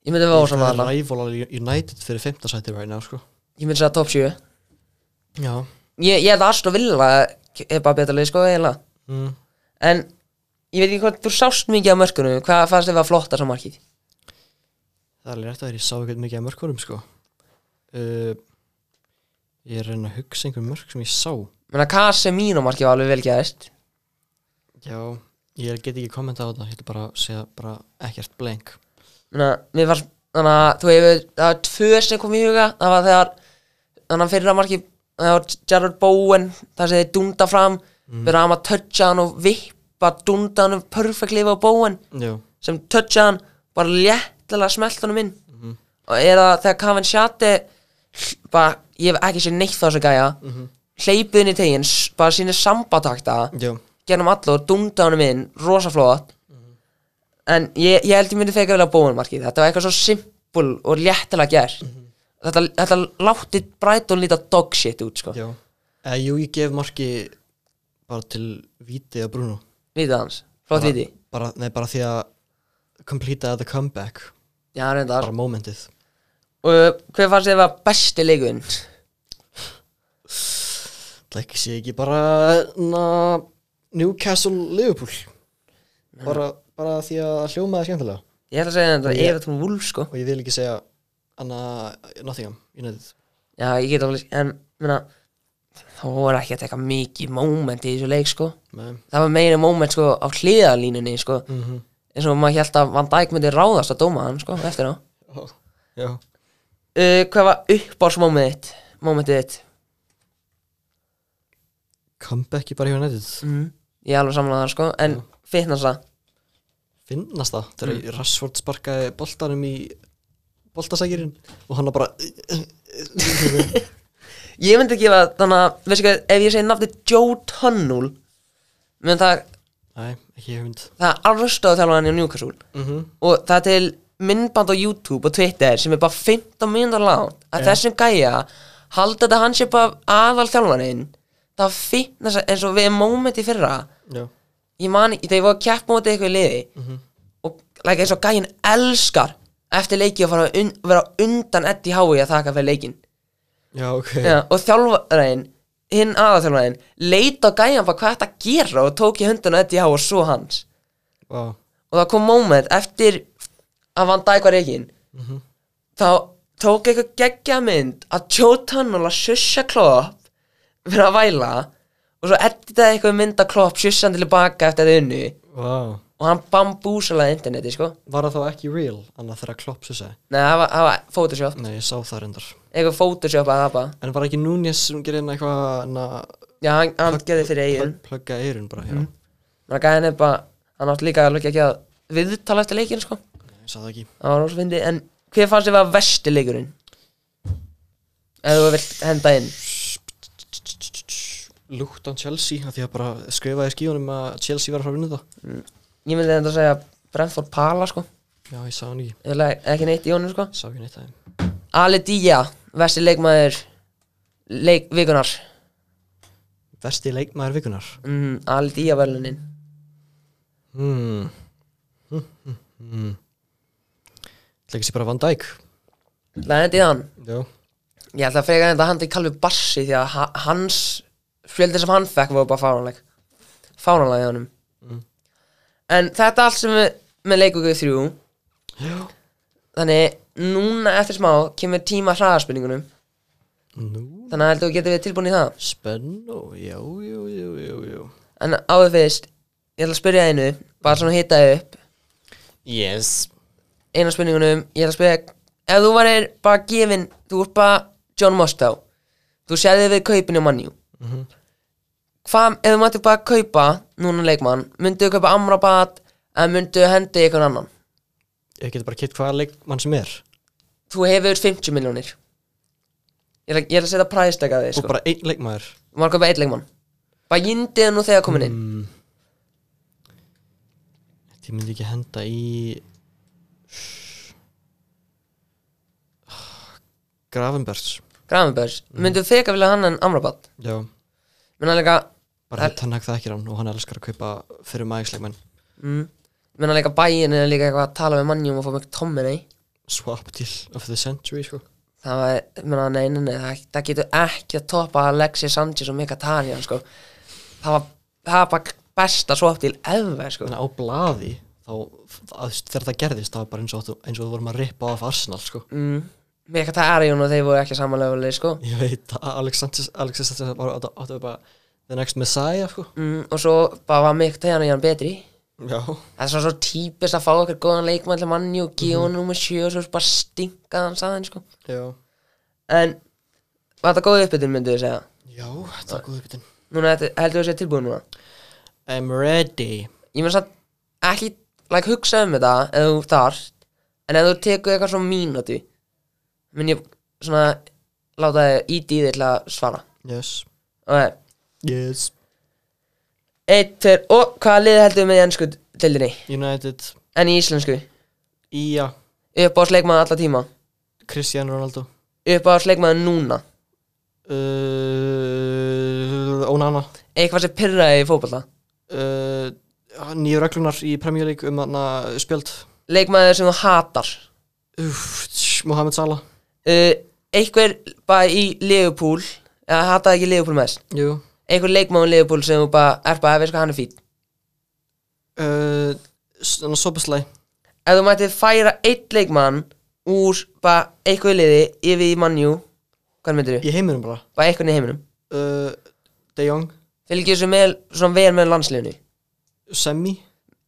Speaker 5: ég myndi vera ósamlega
Speaker 6: Það er
Speaker 5: þarna
Speaker 6: rival alveg United fyrir 15 sæti right now sko
Speaker 5: ég myndi segja top 7 ég,
Speaker 6: Já
Speaker 5: ég hef það aðstof vilja er bara betra lið sko eiginlega
Speaker 6: mm.
Speaker 5: en ég veit ekki hvað, þú sást mikið af mörkunum hvað fannst þið var flott að samarkið
Speaker 6: Það er alveg rétt að þér, ég sá ekkert mikið af mörkurum sko uh, Ég er að reyna að hugsa einhver mörk sem ég sá
Speaker 5: menna Casemiro markið var alveg vel gæðist
Speaker 6: Já, ég get ekki kommenta á þetta, ég ætla bara að segja bara ekkert blank
Speaker 5: menna, mér fannst, þannig að þú hefur það var tvö sem kom í huga, það var þegar þannig að fyrra markið það var Gerard Bowen, það sem þið dunda fram mm. byrjaði hann að toucha hann og vippa dunda hann um perfect lifa á Bowen
Speaker 6: Já,
Speaker 5: sem toucha hann bara léttilega smelt honum inn og er það þegar Kavin Shate bara, ég hef ekki séð neitt þá þessu gæja mm -hmm. hleypið inn í teginn s- bara sínir sambatakta
Speaker 6: já,
Speaker 5: gennum allur, dunda honum inn rosa flott en ég, ég held ég myndi feka vel að bóin markið þetta var eitthvað svo simpul og léttilega gert þetta, þetta látti Brighton líta dog shit út sko
Speaker 6: já Eða, Eh, Jú, ég gef marki bara til Víti og Bruno
Speaker 5: vitið hans, flott
Speaker 6: Bara-
Speaker 5: vitið
Speaker 6: bara, Nei, bara því að complete the comeback
Speaker 5: já, reyndar
Speaker 6: bara momentið
Speaker 5: og hver fannst þið var besti leikurinn
Speaker 6: Það ekki sé ekki bara na, Newcastle Liverpool bara, bara því að það hljómaði skemmtilega
Speaker 5: ég ætla að segja þetta,
Speaker 6: Ég-
Speaker 5: yeah. Everton Wolves sko
Speaker 6: og ég vil ekki segja Anna Nottingham United
Speaker 5: Já, ég get alveg, en, minna, það voru ekki að teka mikið moment í þessu leik, sko.
Speaker 6: með
Speaker 5: Það var meira moment, sko, á hliðalínunni, sko.
Speaker 6: Mhm.
Speaker 5: eins og maður held að Van Dijk myndi ráðast að dóma hann, sko, eftir á.
Speaker 6: Já
Speaker 5: Uh, hvað var uppbársmomentið þitt? Momentið þitt?
Speaker 6: Comebacki bara hjá United
Speaker 5: Mm. Ég er alveg samanlega það, sko, en fitness það.
Speaker 6: Finnast það þegar Rashford sparkaði boltanum í boltasækirinn og hann var bara
Speaker 5: Ég myndi gefa, þannig að, veistu hvað, ef ég segi nafnið Joe Tunnel, menn það,
Speaker 6: Nei, ekki hugmynd
Speaker 5: það er arvstöðu þjálfæðan í Newcastle
Speaker 6: Mhm.
Speaker 5: og það er til myndband á YouTube og Twitter sem er bara 15 mínútur langt að þessum gæja halda þetta hans sé bara aðal þjálfarinn það finnast eins og við moment í fyrra
Speaker 6: Já
Speaker 5: ég man, þegar ég var að keppa mútið eitthvað í liði og like, eins og gæjin elskar eftir leiki að fara að un, vera undan Eddie Howe að þakka fyrir leikin
Speaker 6: Já, ok
Speaker 5: Já, og þjálfarinn, hinn aðalþjálfarinn leita á gæjan bara hvað þetta að gera og tók í höndun á Eddie Howe og svo hans
Speaker 6: Vá
Speaker 5: og það kom moment eftir að Van Dijk var reygin þá tók eitthvað geggja mynd að Joe Tunnel að sussa klopp fyrir að væla og svo editaði eitthvað mynd að klopp sussan til baka eftir að unnu
Speaker 6: Vá
Speaker 5: og hann bambúsalaði interneti sko
Speaker 6: Var það þá ekki real Anna þegar Klopp svo segi
Speaker 5: Nei, það var, það var Photoshop
Speaker 6: Nei, ég sá það reyndar
Speaker 5: eitthvað Photoshop að það bara
Speaker 6: En var ekki Núnes sem gerir hérna eitthvað na,
Speaker 5: já, hann, hann gerði fyrir eigin
Speaker 6: Plug- Plugga eirun bara, já
Speaker 5: hann gæði henni bara hann átti líka alveg ekki að viðtala eftir leikin sko
Speaker 6: Ég sá það ekki
Speaker 5: það var rosa fyndi en hver fannst þið var vesti leikurinn ef þú vilt henda inn
Speaker 6: Luton Chelsea, af því að bara skrifaði í skíunum að Chelsea var að fara að vinna þetta
Speaker 5: Ég myndi þetta að segja Brentford Pala sko
Speaker 6: Já, ég sá hann ekki,
Speaker 5: Ég vil ekki neitt í honum sko
Speaker 6: sá ekki neitt aðeim
Speaker 5: Ali Día, vesti leikmaður leik, vikunar
Speaker 6: Vesti leikmaður vikunar
Speaker 5: mm, Ali Día verðlunin
Speaker 6: Hmm Það ekki sé bara Van Dijk
Speaker 5: Læðandi í hann
Speaker 6: Já
Speaker 5: Ég ætla að freka þetta handi Kalvi Bassi því að ha- hans fjöldi sem hann fekk var bara fáránleg fáránlega í honum En þetta allt sem við með leikugu þrjú
Speaker 6: Já
Speaker 5: Þannig núna eftir smá kemur tíma hraðarspurningunum
Speaker 6: Nú
Speaker 5: Þannig að heldur þú getur við tilbúin í það
Speaker 6: Spennu, já, já, já, já, já
Speaker 5: En áður fyrst, ég ætla að spyrja einu bara svona hita upp
Speaker 6: Yes
Speaker 5: eina spurningunum ég ætla að spyrja ef þú varir bara gefin þú ert bara John Mostow þú sérði við kaupinu manni mm -hmm. hvað ef þú mættir bara kaupa núna leikmann myndu þú kaupa Amrabat eða myndu hendi einhvern annan
Speaker 6: Ég geti bara kitt hvaða leikmann sem er
Speaker 5: þú hefur 50 miljónir ég ætla, ég ætla að setja præstega þig
Speaker 6: Og
Speaker 5: sko.
Speaker 6: bara einn leikmaður
Speaker 5: þú maður kaupa einn leikmann bara jindið nú þegar komin inn
Speaker 6: Ég myndi ekki henda í Ah, Gravenbergs
Speaker 5: Gravenbergs myndu þú feka vilja hann en Amrabat
Speaker 6: Já
Speaker 5: menna líka
Speaker 6: Bara hitt hann ekki þekkir hann og hann elskar að kaupa fyrir magisleikmenn
Speaker 5: menna líka bæin er líka eitthvað um að tala með manni og fá mjög tómmin í
Speaker 6: Swap deal of the century sko
Speaker 5: það var, menna, nei, nei, nei, það, það getur ekki að toppa Alexis Sanchez og Mika Tarjan, sko það var, það var bara besta swapdeal ever sko.
Speaker 6: Þannig að á blaði þá, að, þegar það gerðist það var bara eins og, áttu- eins og við vorum að rippa af Arsenal sko.
Speaker 5: Mér ekki að það er Jón og þeir voru ekki samanlegulegi sko.
Speaker 6: Ég veit að Alexander Alexander var áttu áttu bara The Next Messiah sko.
Speaker 5: mm, og svo bara var mikk tegjan og Jón betri
Speaker 6: Já
Speaker 5: Það er svo, svo típist að fá okkur góðan leikmann til manni og gefa hann nummer 7 og svo bara stinka hann saðan sko.
Speaker 6: Já,
Speaker 5: En var þetta góð uppbytun myndu þið segja?
Speaker 6: Já þetta er góð bitin
Speaker 5: Núna þetta- heldur þú sér tilbúin núna?
Speaker 6: I'm ready
Speaker 5: Ég með satt ekki like, hugsa um þetta ef þú ert þar en ef þú tekur eitthvað svona mínútu mun ég svona láta þið ít í þig til að svara
Speaker 6: Yes
Speaker 5: Ok,
Speaker 6: Yes
Speaker 5: eitt, tver og hvaða lið heldur við með í ennsku tildinni?
Speaker 6: United
Speaker 5: En í íslensku?
Speaker 6: Ía
Speaker 5: Upp á sleikmaður alla tíma?
Speaker 6: Cristiano Ronaldo
Speaker 5: Upp á sleikmaður núna?
Speaker 6: uh, Onana
Speaker 5: Eitthvað sem pyrraði í fótballa?
Speaker 6: uh, Nýju reglunar í Premier League um hana spjöld
Speaker 5: Leikmaður sem þú hatar?
Speaker 6: Uff, tss, Mohamed Salah
Speaker 5: uh, einhver bara í Liverpool eða hataði ekki Liverpool mest
Speaker 6: Jú
Speaker 5: einhver leikmann í Liverpool sem þú bara er bara að veist hvað hann er fín
Speaker 6: uh, Sopaslæ
Speaker 5: ef þú mætti færa eitt leikmann úr bara einhver liði yfir í mannjú hvað myndir þú?
Speaker 6: Í heiminum bara
Speaker 5: bara einhvern í heiminum
Speaker 6: uh, De Jong
Speaker 5: fylgjur þessu með svona vel með landsliðinu
Speaker 6: Semi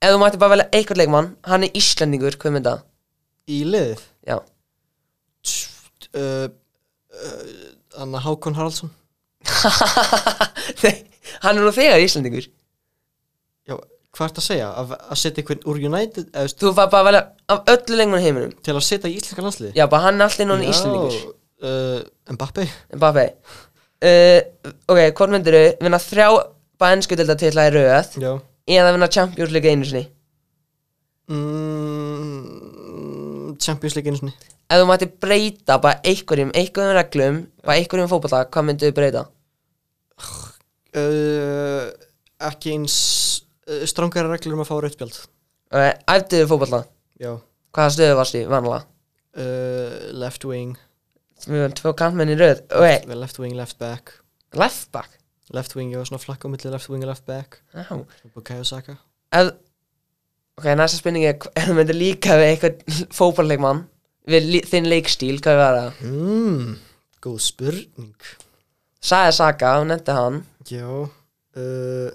Speaker 5: ef þú mætti bara velja einhvern leikmann hann er Íslendingur hvað mynda
Speaker 6: Í liðið
Speaker 5: já
Speaker 6: Þannig uh, uh, að Hákon Haraldsson
Speaker 5: Nei, hann er nú þegar Íslendingur
Speaker 6: Já, hvað ert að segja? Að, að setja einhvern úr United eða, stu,
Speaker 5: þú var bara að velja af öllu leikmann í heiminum
Speaker 6: Til að setja í íslenska landsliði
Speaker 5: já bara hann er allir núna Íslendingur
Speaker 6: uh, Mbappe
Speaker 5: Mbappe uh, Ok, hvort myndir þau vinna þrjá bara ennsku delta til það í röð
Speaker 6: Já
Speaker 5: eða vinna Champions League einu sinni
Speaker 6: mm, Champions League einu sinni
Speaker 5: Ef þú mætti breyta bara einhverjum, einhverjum reglum bara einhverjum fótbolta, hvað myndir þau breyta?
Speaker 6: uh, Ekki eins uh, Strangara reglur um að fá rauðspjald
Speaker 5: Uh, æftu þau fótbolta,
Speaker 6: Já
Speaker 5: hvaða stöðu varst í vanlega?
Speaker 6: uh, Left wing
Speaker 5: Við varum tvö kantmenn í röð Ok,
Speaker 6: well, Left wing, left back
Speaker 5: left back
Speaker 6: Left wing, ég var svona flakk á milli left wing og left back
Speaker 5: Já.
Speaker 6: Bukayo Saka
Speaker 5: Ef, Ok, næsta spurning er hv- ef þú myndir líka við einhvern fótballleikmann við lí- þinn leikstíl, hvað var það?
Speaker 6: mm, Góð spurning
Speaker 5: Sæði Saka, hún nefndi hann
Speaker 6: Já uh,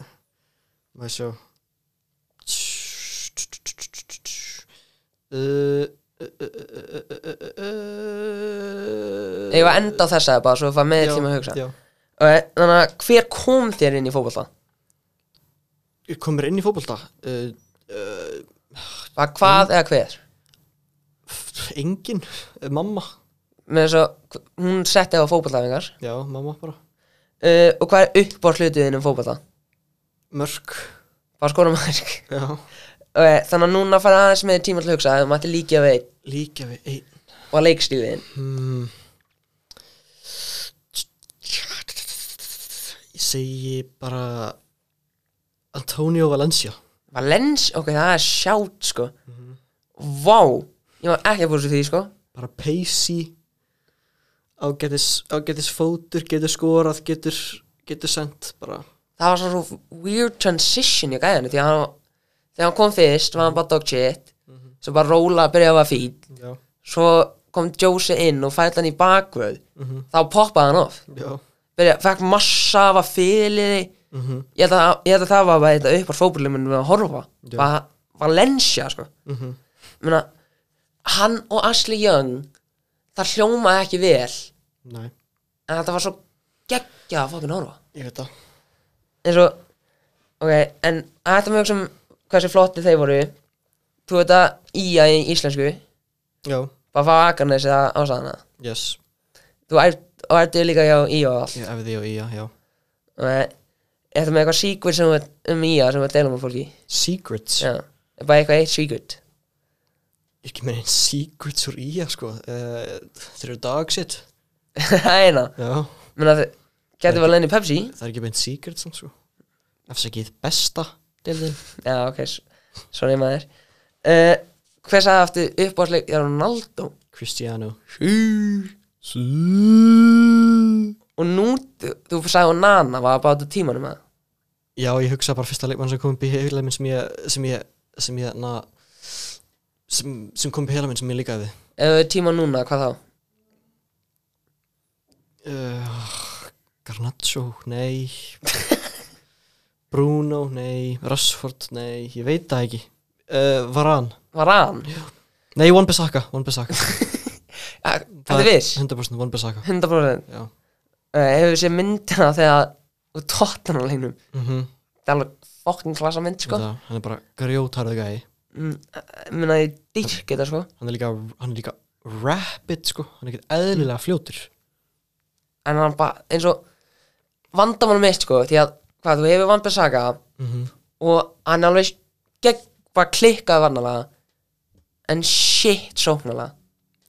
Speaker 6: Maður sjá Uh, uh, uh, uh, uh, uh, uh,
Speaker 5: Ég var enda á þessa bara, svo það var með
Speaker 6: Já,
Speaker 5: tíma að hugsa
Speaker 6: já.
Speaker 5: Ok, Þannig að hver kom þér inn í fótbolta?
Speaker 6: Ég komur inn í fótbolta uh,
Speaker 5: Bara
Speaker 6: Mm.
Speaker 5: hvað eða hver?
Speaker 6: Engin, uh, mamma
Speaker 5: Með þess að hún setti á fótboltafingar
Speaker 6: Já, mamma bara
Speaker 5: uh, Og hvað er uppbór hlutuðin um fótbolta?
Speaker 6: Mörk
Speaker 5: Bara skora maður
Speaker 6: Já
Speaker 5: okay, Þannig að núna fara aðeins með tíma til að hugsa að þú mætti líka við einn
Speaker 6: Líka við einn
Speaker 5: og leikstíliðin
Speaker 6: hmm. Ég segi bara Antonio Valencia
Speaker 5: Valens, ok, það er sjátt sko Vá, ég var ekki að búið svo því sko
Speaker 6: bara peysi ágætis, ágætis fótur getur skorað, getur getur sendt bara
Speaker 5: Það var svona svo weird transition í gæðinu Því að hann, þegar hann kom fyrst var hann bara dog shit Svo bara róla að byrja að vera fín
Speaker 6: já,
Speaker 5: svo kom Jose inn og fælt hann í bakvöð þá poppaði hann off
Speaker 6: já,
Speaker 5: Byrja, fekk massa af að fyrirliði ég, held að- ég held að það var bara þetta upp á fókbólum að horfa bara Valencia sko Meina, hann og Ashley Young það hljómaði ekki vel
Speaker 6: næ,
Speaker 5: en þetta var svo geggjað að fókin horfa
Speaker 6: ég veit það
Speaker 5: eins og ok, en að þetta mjög sem hversu flotti þeir voru þú veit að ía í íslensku
Speaker 6: já,
Speaker 5: bara fá Akarnes eða ásaðana
Speaker 6: yes,
Speaker 5: Þú ert, og ertu líka hjá Íó og allt
Speaker 6: ég efði því og ía, já
Speaker 5: yeah. Þetta með eitthvað secret sem við, um Íó sem við deilum með fólki
Speaker 6: secrets,
Speaker 5: Já, er bara eitthvað eitt secret
Speaker 6: ég ekki meina einn secrets úr ía sko uh, þeir eru dagsitt
Speaker 5: Það er eina
Speaker 6: já,
Speaker 5: Menna þau, getur við að lenni Pepsi
Speaker 6: það er ekki meint secrets samt, sko, afsakið besta deildin,
Speaker 5: Já, ok, s- sorry maður uh, Hver sagði aftur uppáðsleik Já, Ronaldo
Speaker 6: Cristiano
Speaker 5: Og nú, þú, þú sagði Onana var bara á tímanum að
Speaker 6: já, ég hugsa bara fyrsta leikmann sem kom upp í heila minn sem ég sem ég, sem ég na, sem, sem kom upp í heila minn sem ég líkaði við
Speaker 5: Ef við tíma núna, hvað þá?
Speaker 6: uh, Garnaccio, nei Bruno, nei Rashford, nei, ég veit það ekki uh, Varan,
Speaker 5: Varan?
Speaker 6: nei, One Bissaka One Bissaka,
Speaker 5: Ja, Þetta er viss
Speaker 6: 100% One Bissaka
Speaker 5: 100%
Speaker 6: Já.
Speaker 5: Eh, Hefur séð myndina þegar Úr tóttan á leiknum
Speaker 6: mm
Speaker 5: Það er alveg fokkin klasa mynd, sko
Speaker 6: það, hann er bara grjótarðu gæi
Speaker 5: Mm, Ég meina, ég dýrk þetta, sko
Speaker 6: hann er líka, hann er líka rapid sko, hann er ekkert eðlilega fljótur
Speaker 5: En hann bara, eins og Vandamál mitt, sko Því að, hvað, þú hefur vandbæð saga
Speaker 6: mm
Speaker 5: Mhm.
Speaker 6: -hmm.
Speaker 5: Og hann er alveg gegn, bara klikkað vannalega En shit, sóknalega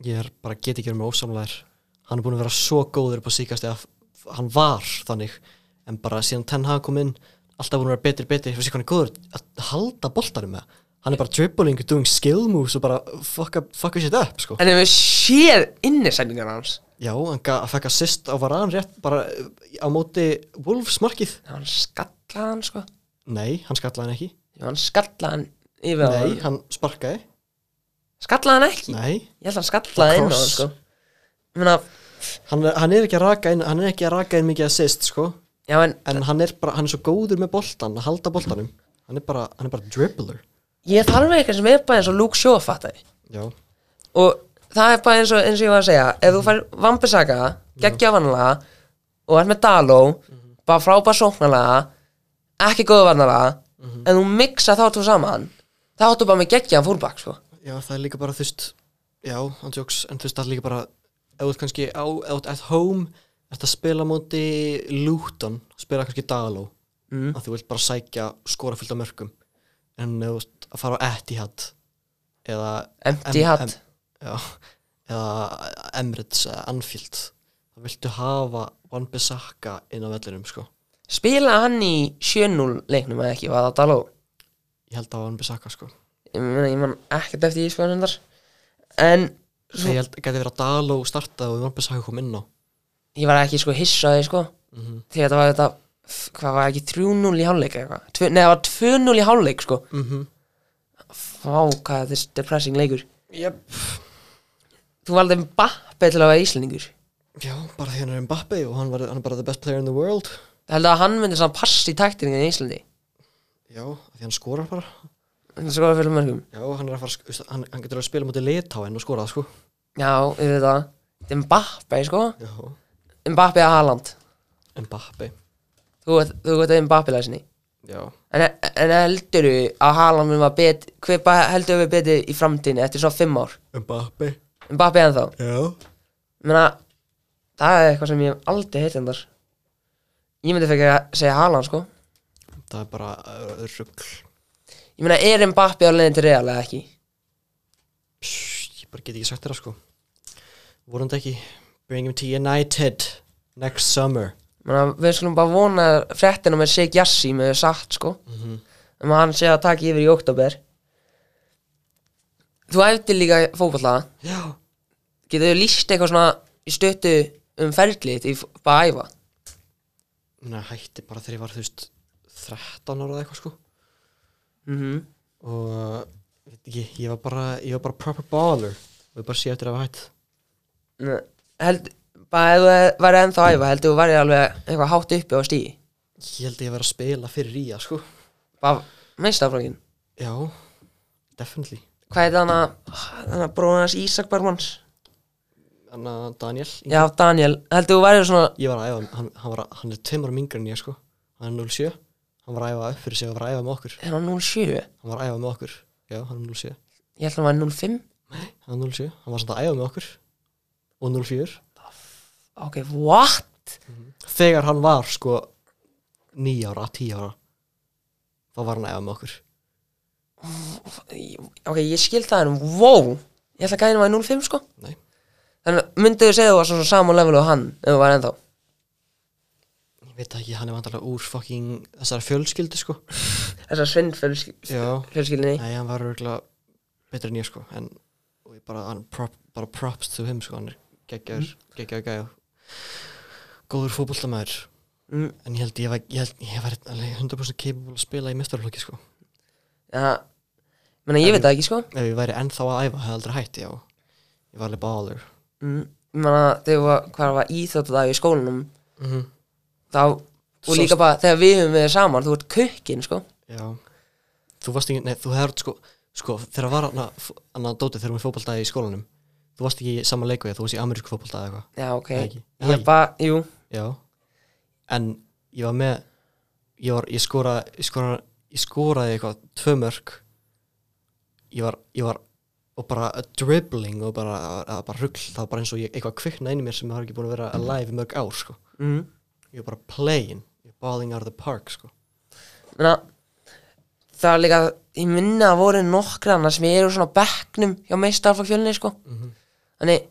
Speaker 6: ég er bara get ekki verið með ósamlegar hann er búin að vera svo góður upp á síkast eða hann var þannig en bara síðan Ten Hag kom inn alltaf búin að vera betri, betri, fyrir sig hann er góður að halda boltanum með, hann er bara dribbling doing skill moves og bara fuck, up, fuck shit up sko,
Speaker 5: En ef við séð innisendingar hans
Speaker 6: já, hann ga- fekk assist á varan rétt bara uh, á móti Wolves markið,
Speaker 5: Hann skallaði hann, sko
Speaker 6: nei, hann skallaði hann ekki
Speaker 5: Jú, hann skallaði hann yfir á
Speaker 6: nei,
Speaker 5: hann
Speaker 6: hann sparkaði,
Speaker 5: Skallaði hann ekki?
Speaker 6: nei
Speaker 5: Ég held að hann skallaði inn á hann,
Speaker 6: Cross.
Speaker 5: sko Ég meina,
Speaker 6: hann, er- hann er ekki að raka inn hann er ekki að raka inn mikið assist sko
Speaker 5: já, en
Speaker 6: en hann er bara, hann er svo góður með boltan að halda boltanum, hann er bara, hann er bara dribbler
Speaker 5: ég þarf eitthvað sem er bara eins og Luke Shaw fattaði
Speaker 6: já,
Speaker 5: og það er bara eins og, eins og ég var að segja ef þú fær vampisaka, geggja vannalega og ert með Daló bara frábær sóknalega ekki góðu vannalega
Speaker 6: Mhm.
Speaker 5: en þú mixa þá þú saman þá áttu bara með geggjaðan fúrbak sko.
Speaker 6: já, það er líka bara þú veist já, hann tjóks, en þú veist, það er líka bara ef þú ert kannski á, ef þú ert at home ert að spila á móti Luton, spila kannski Daló
Speaker 5: Mm.
Speaker 6: að þú vilt bara sækja skora fullt af mörgum en ef þú ert að fara á Etihad eða
Speaker 5: empty
Speaker 6: Em-
Speaker 5: hat
Speaker 6: em- já, eða Emirates eða Anfield þá viltu hafa One Bissaka inn á vellinum sko
Speaker 5: spilaði hann í 7-0 leiknum eða ekki, var það Daló
Speaker 6: ég held að Van Bissaka sko
Speaker 5: ég meina, ég man ekkert eftir í sko hendar. en
Speaker 6: ég held að gæti verið að Daló starta og Van Bissaka kom inn á
Speaker 5: ég var ekki sko hissaði sko þegar þetta var þetta f- hvað var ekki 3-0 í hálfleik eða eitthvað Tvö- nei það var 2-0 í hálfleik sko
Speaker 6: mm -hmm.
Speaker 5: fá hvað þetta er depressing leikur þú valdi Mbappe til að vera íslendingur
Speaker 6: já, bara því hann er Mbappe og hann, var, hann er bara the best player in the world
Speaker 5: það heldur að hann myndi svona passa í taktingin í Íslandi
Speaker 6: já, af því hann skorar bara
Speaker 5: þannig að skoða fyrir mörgum
Speaker 6: já, hann er að fara, að sk- veist, hann, hann getur að spila mútið Litáin og skora sko
Speaker 5: já, við veit það þetta er Mbappe sko
Speaker 6: já,
Speaker 5: Mbappe að Haaland
Speaker 6: Mbappe
Speaker 5: þú veit þú veit að Mbappe læsinni
Speaker 6: já,
Speaker 5: en, en heldur að Haaland mun var bet hver ba- heldur við betið í framtíðinni eftir svona 5 ár
Speaker 6: Mbappe
Speaker 5: Mbappe ennþá
Speaker 6: já,
Speaker 5: Menna, það er eitthvað sem ég hef aldrei heitt endar Ég myndi fyrir að segja Haaland sko
Speaker 6: það er bara uh, ruggl
Speaker 5: Ég meina, er Mbappi á leiðin til Real eða ekki?
Speaker 6: ég bara get ekki sagt þér það sko vorum þetta ekki bring him to United next summer
Speaker 5: Menna, við skulum bara vona um fréttina með Sig Jassi með satt sko mm -hmm. hann sé að taka yfir í oktober Þú æftir líka fótballa
Speaker 6: já,
Speaker 5: Getur þau líst eitthvað svona í stöttu um ferlið í f- bara að æfa?
Speaker 6: Nei, hætti bara þegar ég var þú veist 13 ára eða eitthvað sko
Speaker 5: Mm -hmm.
Speaker 6: og ég veit ekki, ég var bara ég var bara proper baller og ég bara sé eftir að hafa hætt
Speaker 5: Held, bara ef þú væri ennþá að æfa heldur þú væri alveg eitthvað hátt uppi á stíi
Speaker 6: ég held ég að vera að spila fyrir Ría sko
Speaker 5: bara meistaflokkin
Speaker 6: já, definitely
Speaker 5: hvað heit hann að hann að bróða hans Ísak Bergmanns
Speaker 6: þannig að Daniel,
Speaker 5: já Daniel, heldur þú værið svona
Speaker 6: ég var að æfa hann, hann, var, að- hann er tveimur mingur en ég sko hann er 07, hann var að æfa upp fyrir sig og var að æfa með okkur
Speaker 5: er hann 07?
Speaker 6: hann var að æfa með okkur, já, hann er 07
Speaker 5: ég held að hann var 05
Speaker 6: hann er 07, hann var samt að æfa með okkur og 04
Speaker 5: ok, what?
Speaker 6: þegar hann var sko 9 ára, 10 ára þá var hann að æfa með okkur
Speaker 5: ok, ég skil það en wow ég held að gæðin var 05 sko
Speaker 6: Nei.
Speaker 5: þannig að myndu þú segja þú var svona saman level og hann ef þú var ennþá
Speaker 6: ég veit það ekki, hann er vantarlega úr fucking þessari fjölskyldu sko
Speaker 5: þessar svindfjölskyldinni
Speaker 6: já, nei, hann var örgulega betur en ég sko en og ég bara, hann prop, bara props to him sko, hann er geggjaður, geggjaður gæja góður fótboltamæður
Speaker 5: Mm.
Speaker 6: en ég held ég, væri- ég, held, ég var alveg 100% capable að spila í mestarflokki sko.
Speaker 5: ja, menna, ég veit það ekki sko
Speaker 6: ef ég væri ennþá að æfa hefði aldrei hætti já ég var alveg baller
Speaker 5: mm. menna, þegar var, hvað var íþjóttadag í skólanum
Speaker 6: mm -hmm.
Speaker 5: þá, og
Speaker 6: Sást-
Speaker 5: líka bara þegar við höfum verið saman þú ert kukkin sko
Speaker 6: já þú varst ekki, nei þú hefði sko, sko þegar var hana, f- hana dótið þegar við fótballtaði í skólanum þú varst ekki í sama leiku ég, þú varst í ameríku fótballtaði eitthvað
Speaker 5: já ok,
Speaker 6: Nei, ekki. Nei,
Speaker 5: ég
Speaker 6: ekki.
Speaker 5: bara, jú
Speaker 6: já en ég var með ég var, ég skoraði ég skoraði, ég skoraði eitthvað, tvö mörg ég var, ég var og bara dribbling og bara, að bara rugl, það var bara eins og ég, eitthvað kvikna inn í mér sem var ekki búin að
Speaker 5: Mhm.
Speaker 6: vera alive í mörg ár sko.
Speaker 5: mm.
Speaker 6: ég var bara playing ég var balling out of the park sko.
Speaker 5: menna, það er líka ég minna að voru nokkra annar sem eru svona á bekknum hjá meistarfagfjölni sko þannig,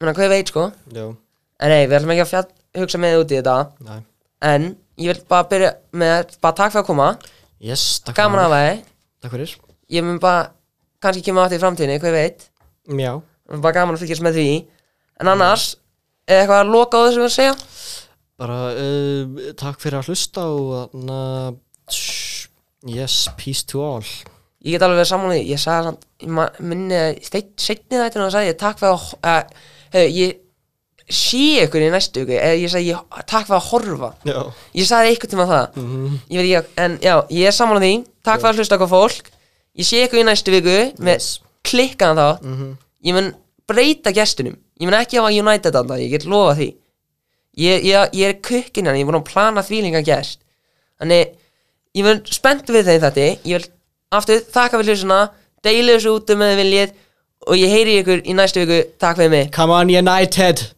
Speaker 5: menna, hvað ég veit sko
Speaker 6: já,
Speaker 5: en nei, við ætlum ekki að fjall, hugsa með þig út í þetta
Speaker 6: næ
Speaker 5: en ég vil bara byrja með bara takk fyrir að koma,
Speaker 6: yes, takk
Speaker 5: gaman
Speaker 6: fyrir.
Speaker 5: að væri
Speaker 6: takk fyrir,
Speaker 5: ég mun bara, kannski kemur aftur í framtíðinni hvað ég veit,
Speaker 6: já
Speaker 5: Mér bara gaman að fylgjast með því en annars, er eitthvað að loka á þessu að segja?
Speaker 6: bara uh, takk fyrir að hlusta og na, tss, yes, peace to all
Speaker 5: Ég get alveg verið sammála því, ég sagði samt, ég ma- minni að setni þetta og sagði ég takk fyrir að, ho- að hefðu, ég sé ykkur í næstu ykkur, eða ég sagði ég, takk fyrir að horfa.
Speaker 6: já,
Speaker 5: Ég sagði eitthvað tíma það, ég veit ekki, en já, ég er sammála því, takk fyrir að hlusta okkur fólk, ég sé ykkur í næstu viku með
Speaker 6: Yes.
Speaker 5: klikkaðan þátt, ég mun breyta gestunum, ég mun ekki hafa United þarna, ég get lofa því. Ég, ég, ég er kukkinn hann, ég er búin að plana því líka gest. Þannig, ég vil spennt við þeim þetta ég vil aftur þakka fyrir hlusuna deilu þessu út um með þið viljið og ég heyri í ykkur í næstu viku takk fyrir mig
Speaker 6: come on United